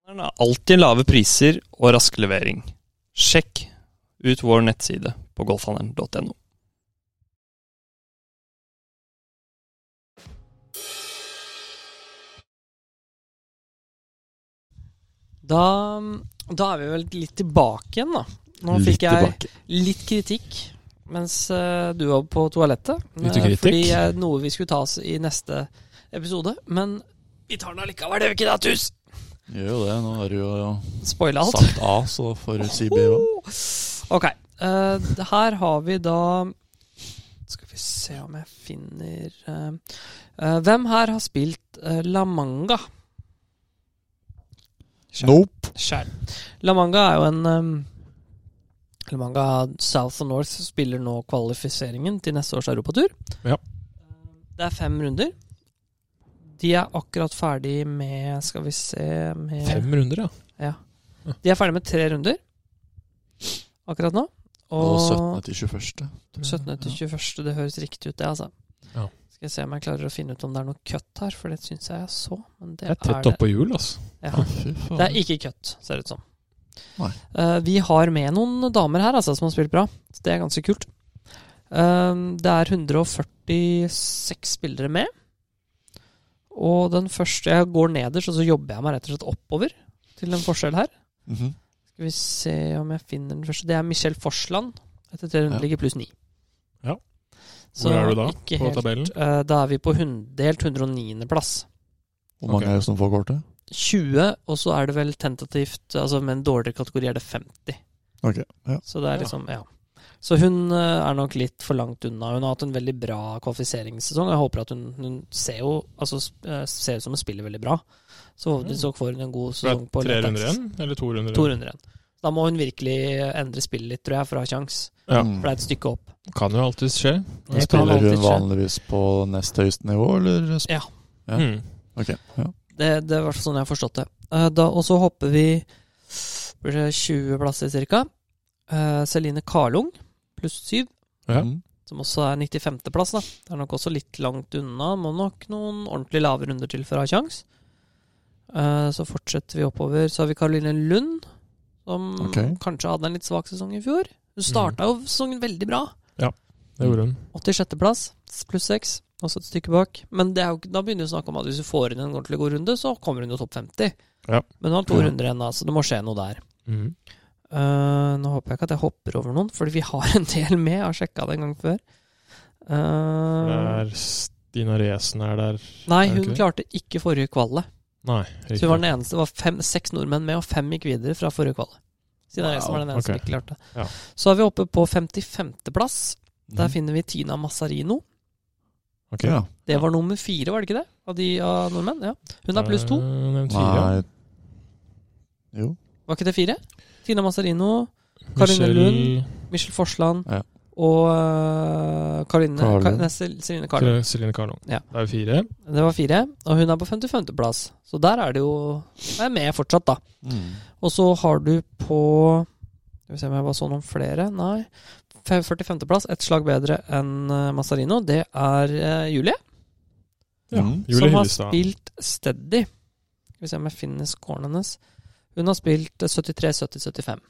A: Partneren har alltid lave priser og rask levering. Sjekk ut vår nettside på golfhandelen.no.
B: Da, da er vi vel litt tilbake igjen, da. Nå
D: Litt
B: fikk jeg
D: tilbake.
B: litt kritikk mens eh, du var på toalettet.
C: Litt
B: eh,
C: kritikk?
B: Fordi eh, noe vi skulle ta oss i neste episode. Men vi tar den allikevel, gjør vi ikke det, Tus?
D: Gjør jo det. Nå har du jo
B: Spoila alt.
D: sagt A, så får du si B òg.
B: Ok. eh, det her har vi da Skal vi se om jeg finner eh, eh, Hvem her har spilt eh, La Manga?
D: Nope.
B: Skjær. La Manga er jo en um, La Manga South og North spiller nå kvalifiseringen til neste års europatur. Eh,
C: Ja.
B: Det er fem runder. De er akkurat ferdig med Skal vi se med,
C: Fem runder, ja.
B: De er ferdig med tre runder akkurat nå.
D: Og
B: Og,
D: 17. til 21.
B: 17. til 21. Det høres riktig ut, det, altså.
C: Ja.
B: Skal jeg se om jeg klarer å finne ut om det er noe kutt her, for det syns jeg jeg så. Men det,
C: Det er
B: er
C: tett
B: det.
C: oppå hjul, altså.
B: Ja.
D: Fy faen.
B: Det er ikke kutt, ser det ut som.
D: Nei.
B: Eh, vi har med noen damer her altså, som har spilt bra. Så det er ganske kult. Eh, det er 146 spillere med. Og den første Jeg går nederst, og så jobber jeg meg rett og slett oppover til en forskjell her.
D: Mhm.
B: Skal vi se om jeg finner den første. Det er Michelle Forsland. Etter tre runder
D: Ja.
B: ligger pluss ni.
C: Ja.
B: Så
C: Hvor er du da
B: ikke
C: på
B: helt,
C: tabellen?
B: eh, da er vi på hun- delt 109.-plass.
D: Hvor mange
C: Ok.
D: er det som får kortet?
B: 20, og så er det vel tentativt Altså med en dårligere kategori er det 50.
D: Ok, ja.
B: Så det er
C: Ja.
B: liksom, ja. Så hun eh, er nok litt for langt unna. Hun har hatt en veldig bra kvalifiserinssesong. Jeg håper at hun, hun ser jo Altså sp- eh, ser ut som hun spiller veldig bra. Så forhåpentligvis så får hun en god
C: Det Mm. er
B: sesong på
C: tre
B: lørdags.
C: runder igjen? Eller to runder?
B: To
C: igjen?
B: runder igjen. Da må hun virkelig endre spillet litt, tror jeg, for å ha kjangs.
C: Ja.
D: Mm.
B: For det er et stykke opp.
C: Kan jo alltids
B: Det
C: skje.
B: kan
D: Spiller
B: alltid
D: hun
B: skje.
D: vanligvis på nest høyeste nivå, eller? sp-
B: Ja.
D: Ja.
C: Mm.
D: Ok, ja.
B: Det, det er i hvert fall sånn jeg har forstått det. Eh, da, og så hopper vi blir det 20 plasser ca. Celine Karlung pluss 7.
C: Ja.
D: Mm.
B: Som også er 95. plass, da. Det er nok også litt langt unna. Må nok noen ordentlig lave runder til for å ha kjangs. Eh, så fortsetter vi oppover. Så har vi Karoline Lund, som
D: Ok. Mhm.
B: kanskje hadde en litt svak sesong i fjor. Hun starta jo sesongen veldig bra.
C: Det gjorde hun.
B: 86. plass, pluss 6. Også et stykke bak. Men det er jo, ikke- da begynner vi å snakke om at hvis du får inn en ordentlig god runde, så kommer hun jo topp 50.
C: Ja.
B: Men hun har to
D: Ja.
B: runder igjen, da, så det må skje noe der.
C: Mm.
B: Eh, nå håper jeg ikke at jeg hopper over noen, fordi vi har en del med. Jeg har sjekka det en gang før.
C: Det
B: Eh,
C: er Stina Resen er der
B: Nei,
C: Er det
B: hun
C: ikke det?
B: klarte ikke forrige kvalle.
C: Nei,
B: Så hun var den eneste, det var fem, seks nordmenn med, og fem gikk videre fra forrige kvalle. Siden jeg som var den eneste
C: ok.
B: som ikke klarte.
C: Ja.
B: Så er vi oppe på 55.-plass. Der
D: Mhm.
B: finner vi Tina Massarino.
C: Ok.
D: Ja.
B: Det var nummer fire, var det ikke det? Av de av nordmenn? Ja. Hun er pluss to.
C: Eh, hun er en fire.
D: Nei Jo.
B: Var ikke det fire? Tina Massarino, Karoline
C: Michelle
B: Lund, Michelle Forsland
D: Ja.
B: og øh, Karoline
D: Karlund.
B: Ka- nei, Sel- Celine Carlo.
C: Kar- Celine Carlon.
B: Ja.
C: Det er jo fire.
B: Det var fire. Og hun er på 55.-plass. Så der er det jo Hun er med fortsatt, da.
D: Mm.
B: Og så har du på Skal vi se om jeg bare så noen flere. Nei. Fe- 45. plass, ett slag bedre enn eh, Mazzarino. Det er eh, Julie,
C: Ja.
D: Mm.
C: Julie
B: som har
C: Hillestad.
B: spilt steady. Skal vi se om jeg finner scoren hennes. Hun har spilt eh, 73, 70, 75.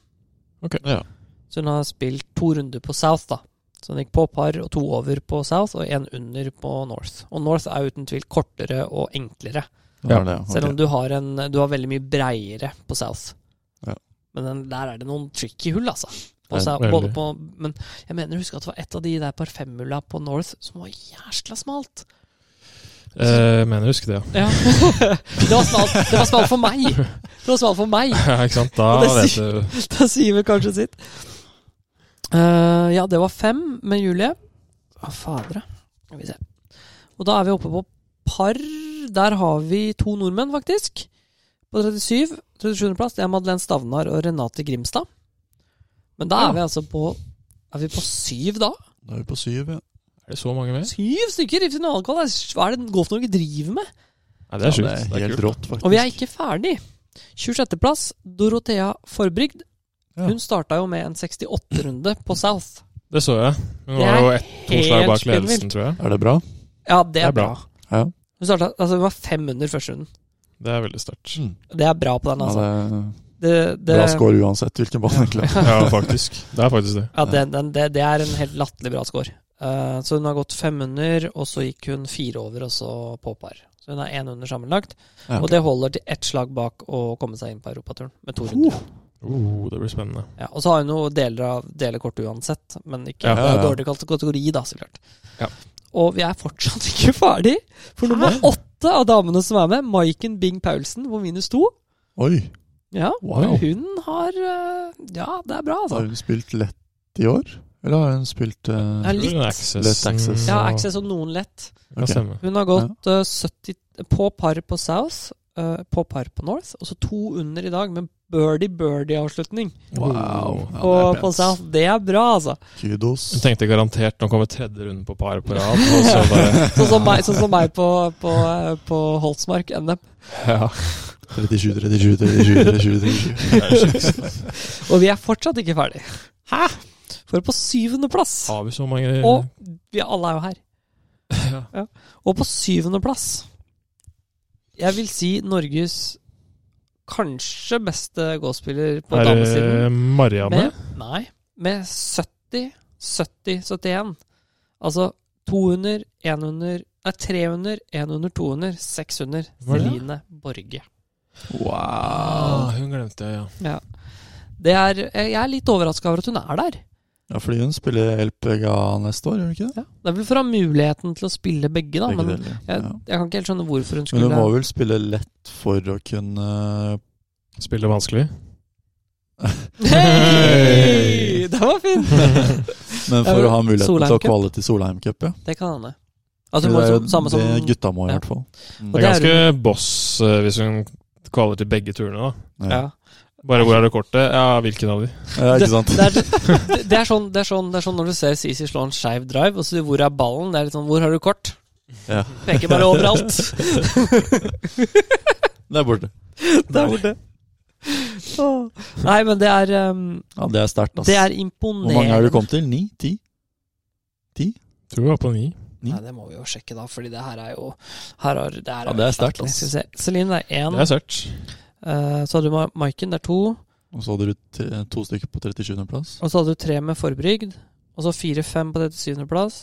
D: Ja.
B: Så hun har spilt to runder på South, da. Så hun gikk på par og to over på South og én under på North. Og North er uten tvil kortere og enklere.
D: Det
C: Ja.
D: er det, ok.
B: Selv om du har, en, du har veldig mye breiere på South.
D: Ja.
B: Men den, der er det noen tricky hull, altså. På
D: Ja,
B: South,
C: veldig.
B: både på, men jeg mener husk at det var et av de der par femhulla på North som var jæskla smalt.
C: Eh, mener jeg husker det, ja.
B: det var smalt. Det var smalt for meg! Det var smalt for meg!
C: ja. Ikke sant? Da
B: Og det
C: vet
B: sier-
C: du
B: Da sier vi kanskje sitt. Eh, ja, det var fem med Julie. Å, fadere. Skal vi se. Og da er vi oppe på par. Der har vi to nordmenn, faktisk. På 37. 37. plass det er Madeleine Stavnar og Renate Grimstad. Men da er
C: Ja.
B: vi altså på Er vi på syv da?
D: Da er vi på syv, ja.
C: Er det så mange med?
B: Syv stykker i finalekvall! Hva er det Golf Norge driver med?
C: Nei, det er
D: Ja,
C: sjukt.
D: Det er helt rått, faktisk.
B: Og vi er ikke ferdig. 26. plass, Dorothea Forbrygd.
D: Ja.
B: Hun starta jo med en 68-runde på South.
C: Det så jeg. Hun
B: Det
C: var jo
B: er
C: ett, to slag
B: helt
C: bak ledelsen,
B: spinnvilt.
C: tror jeg.
D: Er det bra?
B: Ja, det er,
C: Det er
B: bra.
C: bra.
D: Ja.
B: Hun starta, altså hun var fem under første runden.
C: Det er veldig sterkt.
B: Det er bra på den, altså.
D: ja det,
B: Det, det,
D: Bra score uansett hvilken bane, egentlig.
C: Ja, faktisk. Det er faktisk det.
B: ja, den, den, det, det er en helt latterlig bra score. Eh, så hun har gått fem under, og så gikk hun fire over, og så på par. Så hun er én under sammenlagt.
D: Ja.
B: Og det holder til ett slag bak å komme seg inn på europaturen med to runder.
C: Oh, det blir spennende.
B: Ja, og så har hun jo deler av delekort uansett, men ikke
C: Ja,
B: det er
D: ja.
B: dårlig kalt kategori, da, så klart.
C: Ja.
B: Og vi er fortsatt ikke ferdig, for nummer åtte av damene som er med, Maiken Bing Paulsen på minus to.
D: Oi!
B: Ja,
D: Wow.
B: hun har eh, Ja, det er bra, altså.
D: Har hun spilt lett i år? Eller har hun spilt eh,
B: Ja,
C: Tror du det er
B: litt.
C: Access?
D: Lett Access.
B: Ja,
C: og-
B: Access og noen lett.
C: Kan
D: Ok.
C: stemme.
B: Hun har gått eh, 70 på par på South, eh, på par på North, og så to under i dag, men birdie-birdie-avslutning
D: Wow.
B: på,
D: Ja, det er
B: på
D: pent.
B: South. Det er bra, altså.
D: Kudos.
C: Hun tenkte garantert nå kommer tredje runde på par på rad, og så bare
B: Sånn som meg, sånn som meg på, på, eh, på Holtsmark NM.
C: Ja.
D: 37, 37, 37, 37, 37.
B: Og vi er fortsatt ikke ferdig. Hæ? For på syvendeplass
C: Har vi så mange
B: Og vi alle er jo her.
C: Ja.
B: Og på syvendeplass Jeg vil si Norges kanskje beste golfspiller på
C: Er
B: damesiden.
C: det Marianne?
B: Med, nei, med 70, 70, 71. Altså 200, 100 Nei, 300, 100, 200, 600.
C: Var det?
B: Celine Borge.
C: Ah, hun glemte jeg, ja.
B: Det er, jeg er litt overraska over at hun er der.
D: Ja, fordi hun spiller LPGA neste år, gjør hun ikke det?
B: Det er vel for å ha muligheten til å spille begge, da.
D: Begge
B: Men jeg,
D: deler,
B: jeg
D: ja.
B: kan ikke helt skjønne hvorfor hun
D: Men
B: skulle
D: hun må vel spille lett for å kunne
C: Spiller vanskelig.
B: Hei! Den var fin!
D: Men for å ha muligheten
B: Solheim
D: til å
B: Cup.
D: kvale til Solheim Cup, ja.
B: Det kan hende. Altså,
D: Fordi
B: hun må
D: det er
B: jo samme som
D: det gutta må, i
B: ja.
D: hvert fall.
C: Det
B: det
C: er
B: er
C: ganske boss eh, hvis hun kvaler til begge turene, da.
B: ja.
C: Bare hvor er det kortet? Ja, hvilken av de?
D: Ja, ikke sant?
B: det, er, det, er sånn, det, er sånn, det er sånn når du ser CC slå en skeiv drive, og så hvor er ballen? Det er litt sånn Hvor har du kort?
D: Ja.
B: Peker bare overalt.
D: Det er borte.
B: Der borte. Åh. Nei, men det er ehm,
D: Ja, det er sterkt, ass.
B: Det er
D: Hvor
B: imponerende.
D: mange har du kommet til? Ni? Ti?
C: Tror vi var på ni.
B: Nei, det må vi jo sjekke, da, fordi det her er jo her har, det, her
D: Ja,
B: jo
D: det er
B: helt
D: sterkt,
B: latterlig.
D: ass.
B: Skal vi se. Celine, det er én.
C: Det er sørt.
B: Eh, så hadde du Ma- Maiken, det er to.
D: Og så hadde du tre, to stykker på 37. plass.
B: Og så hadde du tre med forbrygd. Og så fire-fem på 37. plass.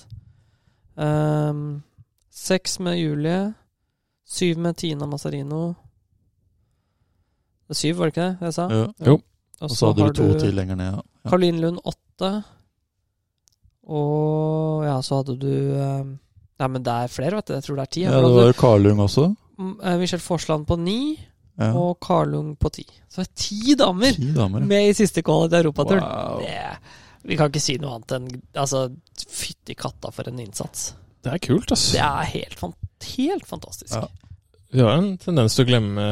B: Ehm, Seks med Julie. Syv med Tina Mazzarino. Det er syv, var det ikke det jeg sa?
D: Ja.
B: Og
D: Og så hadde
B: har
D: du to til lenger ned. ja. Ja.
B: Karoline Lund åtte. Og ja, så hadde du ehm, Nei, men det er flere, vet du. Jeg tror det er ti.
D: Ja, det var jo Karlung også.
B: eh, Michelle Forsland på ni,
D: Ja.
B: og Karlung på ti. Så det er ti damer
D: Ti damer. ja.
B: med i siste kvalet til Europaturen.
C: Oh.
D: Wow.
B: Det, vi kan ikke si noe annet enn altså, Fytti katta for en innsats.
C: Det er kult, ass.
B: Det er helt, fan- helt fantastisk.
D: Ja.
C: Vi har en tendens til å glemme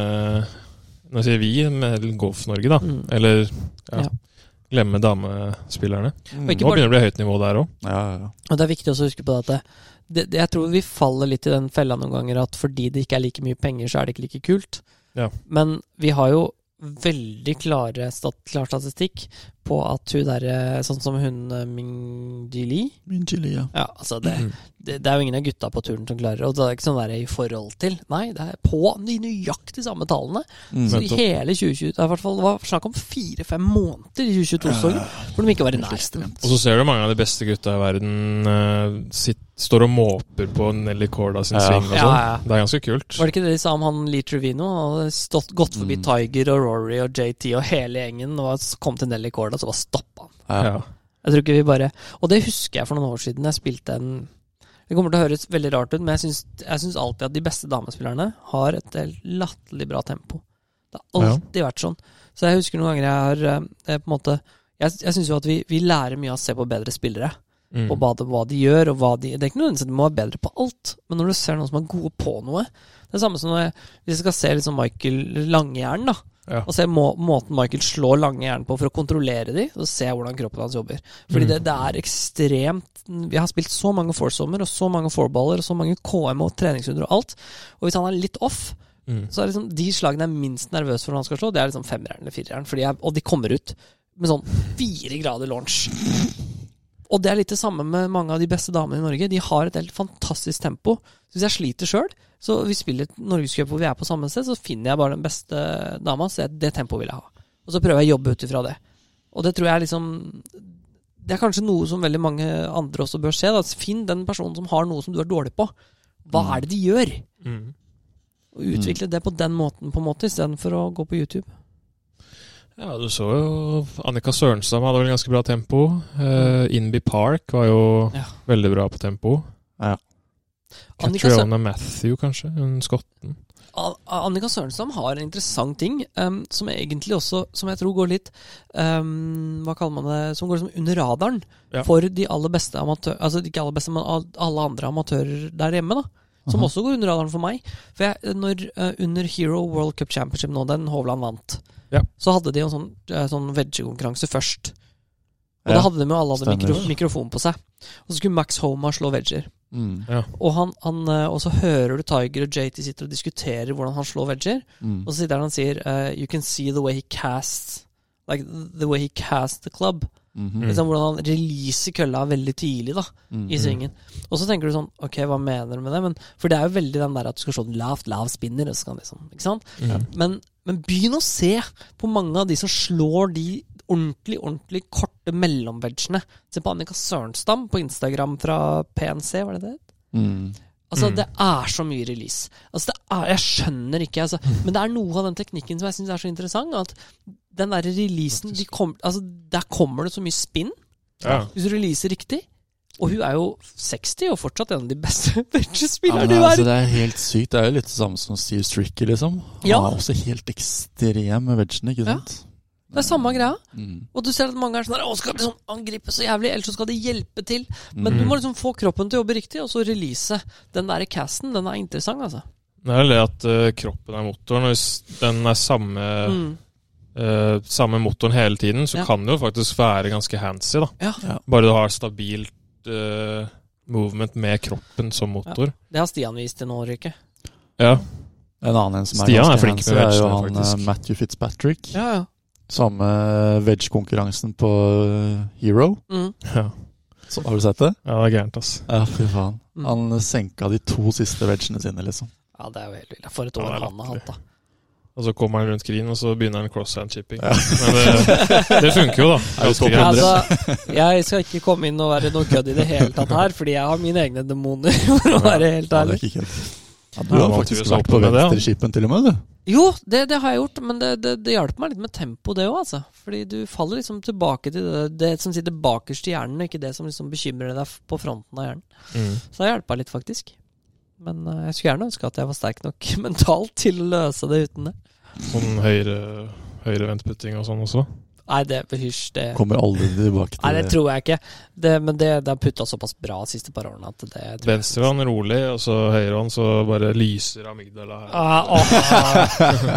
C: Nå sier vi med Golf-Norge, da.
B: Mm.
C: Eller ja,
B: Ja.
C: glemme damespillerne.
D: Mm.
B: Og ikke
C: Nå
B: bare-
C: begynner det å bli høyt nivå der òg.
D: Ja, ja, ja.
B: Og det er viktig også å huske på det at det, det, det, jeg tror vi faller litt i den fella noen ganger at fordi det ikke er like mye penger, så er det ikke like kult.
C: Ja.
B: Men vi har jo veldig klare stat, klar statistikk på at hun derre Sånn som hun eh, Ming Jili
D: Min chili, ja.
B: Ja, altså det,
C: Mm.
B: det, det er jo ingen av gutta på turen som klarer det. Og det er ikke sånn der i forhold til. Nei, det er på de nøyaktig samme tallene.
D: Mm.
B: Så i
C: Nettopp.
B: hele 2020 Det er i hvert fall det var snakk om fire-fem måneder i 2022-sesongen hvor de ikke var i nærheten.
C: Og så ser du mange av de beste gutta i verden eh, sitt, står og måper på Nelly Corda sin
D: Ja.
C: sving og sånn.
B: Ja, ja.
C: Det er ganske kult.
B: Var det ikke det de sa om han Lee Trevino? Han hadde stått, gått forbi
D: Mm.
B: Tiger og Rory og JT og hele gjengen og s- kom til Nelly Corda, så bare stoppa han.
D: Ja.
C: Ja.
B: Jeg tror ikke vi bare Og det husker jeg for noen år siden. Jeg spilte en Det kommer til å høres veldig rart ut, men jeg syns- jeg syns alltid at de beste damespillerne har et helt latterlig bra tempo. Det har alltid vært sånn. Så jeg husker noen ganger jeg har eh, på en måte Jeg, jeg syns jo at vi, vi lærer mye av å se på bedre spillere.
C: Mm.
B: på hva de, hva de gjør. Og hva de, det er ikke nødvendigvis at de må være bedre på alt, men når du ser noen som er gode på noe Det er samme som når jeg, hvis jeg skal se liksom Michael Langjern, da.
C: Ja.
B: Og se må, måten Michael slår langjern på for å kontrollere de, og se hvordan kroppen hans jobber. Fordi
C: Mm.
B: det, det er ekstremt Vi har spilt så mange foursomer og så mange fourballer og så mange KM og treningshunder og alt. Og hvis han er litt off,
C: Mm.
B: så er liksom de slagene jeg er minst nervøs for når han skal slå, det er liksom femmeren eller fireren. Fordi jeg, og de kommer ut med sånn fire grader launch. Og det er litt det samme med mange av de beste damene i Norge. De har et helt fantastisk tempo. Så hvis jeg sliter sjøl, så vi spiller et norgescup hvor vi er på samme sted, så finner jeg bare den beste dama og sier at det tempoet vil jeg ha. Og så prøver jeg å jobbe ut ifra det. Og det tror jeg liksom Det er kanskje noe som veldig mange andre også bør se. Da. Finn den personen som har noe som du er dårlig på. Hva er det de gjør?
C: Mm.
B: Og utvikle det på den måten, på en måte, istedenfor å gå på YouTube.
C: Ja, du så jo Annika Sørenstad hadde vel ganske bra tempo. Eh, Inby Park var jo
B: Ja.
C: veldig bra på tempo.
B: Annika, Sø
C: Catriona Matthew, kanskje. Hun skotten.
B: An- Annika Sørenstam har en interessant ting em, som egentlig også Som jeg tror går litt em, Hva kaller man det? Som går liksom under radaren
C: Ja.
B: for de aller beste amatører Altså ikke aller beste, men al- alle andre amatører der hjemme. da Som
D: Aha.
B: også går under radaren for meg. For jeg, når, eh, Under Hero World Cup Championship nå, den Hovland vant,
C: Ja.
B: så hadde de en sånn, uh, sånn veggie-konkurranse først. Og
D: Ja.
B: da hadde de jo alle hadde mikro,
D: Stemmer.
B: mikrofon på seg. Og så skulle Max Homa slå vegger.
D: Mm.
B: Og, han, han, eh, og så hører du Tiger og JT sitter og diskuterer hvordan han slår vegger.
D: Mm.
B: Og så sitter han og sier eh, You can see the way he casts Like the way he casts the club.
D: Mhm.
B: Liksom Hvordan han releaser kølla veldig tidlig da
D: Mm.
B: i svingen. Og så tenker du sånn Ok, hva mener du med det? Men, for det er jo veldig den der at du skal slå den lavt, lav spinner. Og så kan liksom, ikke sant?
C: Mm.
B: Men, men begynn å se på mange av de som slår de ordentlig ordentlig korte mellomvegene. Se på Annika Sørenstam på Instagram fra PNC, var det det?
D: Mm.
B: Altså,
C: Mm.
B: Det er så mye release. Altså, det er, jeg skjønner ikke. Altså, men det er noe av den teknikken som jeg syns er så interessant. At den der releasen de kom, altså, Der kommer det så mye spinn,
C: Ja.
B: hvis du releaser riktig. Og hun er jo 60 og fortsatt en av de beste
D: Ja,
B: bridgespillerne
D: men,
B: i
D: altså,
B: verden.
D: det er helt sykt. Det er jo litt det samme som Steve Stricker, liksom. Han
B: Ja.
D: er også helt ekstrem med vegen, ikke
B: Ja.
D: sant?
B: Det er samme greia.
D: Mm.
B: Og du ser at mange er sånn der, Å, skal liksom angripe så jævlig, ellers så skal de hjelpe til. Men du
C: Mm.
B: må liksom få kroppen til å jobbe riktig, og så release. Den der casten, den er interessant, altså.
C: Det er det at eh, kroppen er motoren. og Hvis den er samme,
B: Mm.
C: eh, samme motoren hele tiden, så
B: Ja.
C: kan det jo faktisk være ganske handsy. da.
B: Ja.
D: Ja.
C: Bare du har stabilt eh, movement med kroppen som motor.
B: Det har Stian vist til nå, Ryke.
C: Ja.
D: En annen en som er
C: Stian er
D: ganske
C: flink
D: handsy,
C: med
D: er jo
C: vegene,
D: han
C: faktisk.
D: eh, Matthew Fitzpatrick.
B: Ja, ja.
D: Samme veg-konkurransen på eh, Hero.
B: Mm.
C: Ja.
D: Så, har du sett det?
C: ja, det er gærent, ass.
D: Ja, fy faen.
B: Mm.
D: Han senka de to siste vegene sine, liksom.
B: Ja, det er jo helt vilt. For et
C: Ja,
B: år
C: det er
B: han har hatt, da.
C: Og så kommer han rundt screen, og så begynner han cross-hand chipping.
D: Ja.
C: Men det, det funker jo, da.
D: Er det topp
C: greit.
D: 100?
B: Altså, jeg skal ikke komme inn og være noe kødd i det hele tatt her, fordi jeg har mine egne demoner, for å være helt
D: Ja, det
B: ærlig.
D: er ikke kødd. Ja, du
C: Ja,
D: har
C: man
D: faktisk
C: trives
D: vært
C: åpen
D: på
C: med det, ja.
D: venstreskipen til og med, du.
B: Jo, det, det har jeg gjort, men det, det, det hjalp meg litt med tempo, det òg, altså. Fordi du faller liksom tilbake til det, det som sitter bakerst i hjernen, og ikke det som liksom bekymrer deg f- på fronten av hjernen.
C: Mm.
B: Så det har hjelpa litt, faktisk. Men eh, jeg skulle gjerne ønske at jeg var sterk nok mentalt til å løse det uten det.
C: Sånn høyre, høyrevendtputting og sånn også.
B: Nei, det hysj, det
D: Kommer aldri tilbake til
B: Nei, det tror jeg ikke. Det, men det, det har putta såpass bra de siste par årene at det tror jeg-
C: Venstrehånd rolig, og så høyrehånd så bare lyser amygdala her.
B: Ah, åh.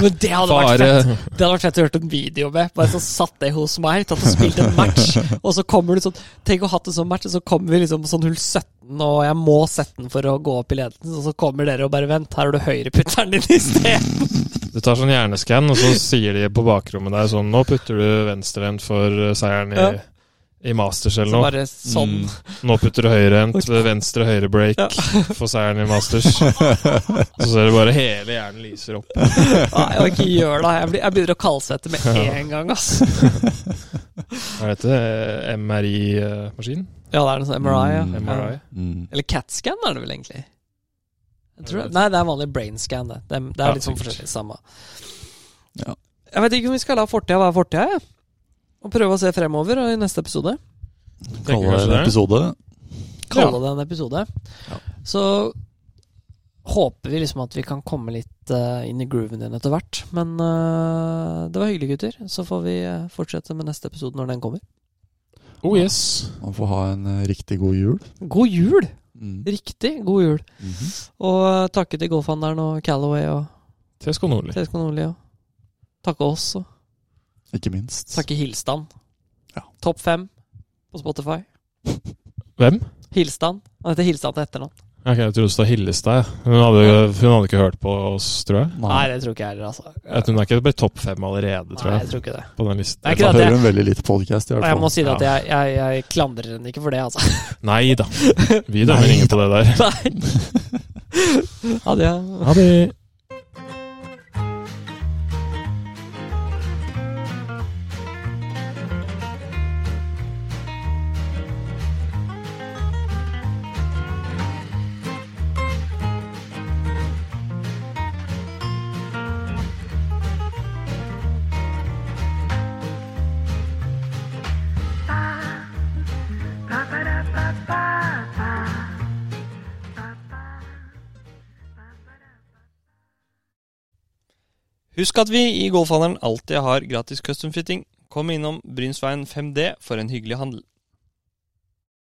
B: Men det hadde vært
C: Fare.
B: fett Det hadde vært fett å høre en video med. Bare så satt det hos meg, tatt og spilt en match. Og så kommer du sånn Tenk å ha hatt en sånn match, og så kommer vi liksom på sånn hull 17, og jeg må 17 for å gå opp i ledelsen, og så kommer dere og bare Vent, her har du høyreputteren din i sted.
C: Du tar sånn hjerneskann, og så sier de på bakrommet der sånn Nå putter du venstrehendt for eh, seieren i,
B: Ja.
C: i Masters
B: Så
C: eller noe.
B: bare sånn.
D: Mm.
C: Nå putter du høyrehendt ved venstre høyre break for seieren i Masters. Så ser du bare hele hjernen lyser opp.
B: Nei, jeg orker ikke gjøre det. Jeg, blir, jeg begynner å kaldsvette med en gang, ass.
C: Hva heter det? MRI-maskin?
B: Ja, det er noe sånn MRI, ja.
D: Mm.
C: MRI.
D: Mm.
B: Eller CAT-scan er det vel egentlig? Jeg tror det. Nei, det er vanlig brain scan. Det, det, er- det er
C: Ja,
B: litt sånn
C: sikkert.
B: forskjellig samme.
D: Ja.
B: Jeg vet ikke om vi skal la fortida være fortida, jeg. Og prøve å se fremover og i neste episode.
C: Tenker
D: Kalle
C: kanskje
D: det en
C: det.
D: episode.
B: Kalle det en episode.
D: Ja.
B: Så håper vi liksom at vi kan komme litt eh, inn i grooven din etter hvert. Men eh, det var hyggelig, gutter. Så får vi eh, fortsette med neste episode når den kommer.
C: Oh yes.
D: Man får ha en eh, riktig god jul.
B: God jul!
D: Mm.
B: Riktig god jul.
D: Mhm.
B: Og eh, takke til golfhandleren og Callaway og
C: Tesco Nordli.
B: TSK Nordli. Og takke oss. og
D: Ikke minst.
B: Takke Hilstand.
D: Ja.
B: Topp fem på Spotify.
C: Hvem?
B: Hilstand. Han heter Hilstand til etternavn.
C: Ok, Jeg trodde det var Hillestad. ja. Hun hadde, hun hadde ikke hørt på oss, tror jeg.
B: Nei,
D: Nei,
B: det tror ikke jeg heller, altså.
C: At hun er ikke blitt topp fem allerede, tror
B: Nei, jeg
C: jeg.
B: tror ikke det.
C: På den listen.
B: Det er
D: da
B: ikke det at
D: hører
B: jeg,
D: hun veldig lite podcast, i hvert
B: og jeg
D: fall.
B: må si det at jeg, jeg, jeg klandrer henne ikke for det, altså.
C: Nei da. Vi dømmer ingen på det der.
B: Nei. Ha det. ja.
C: Ha det.
A: Husk at vi i Golfhandelen alltid har gratis custom fitting. Kom innom Brynsveien 5D for en hyggelig handel.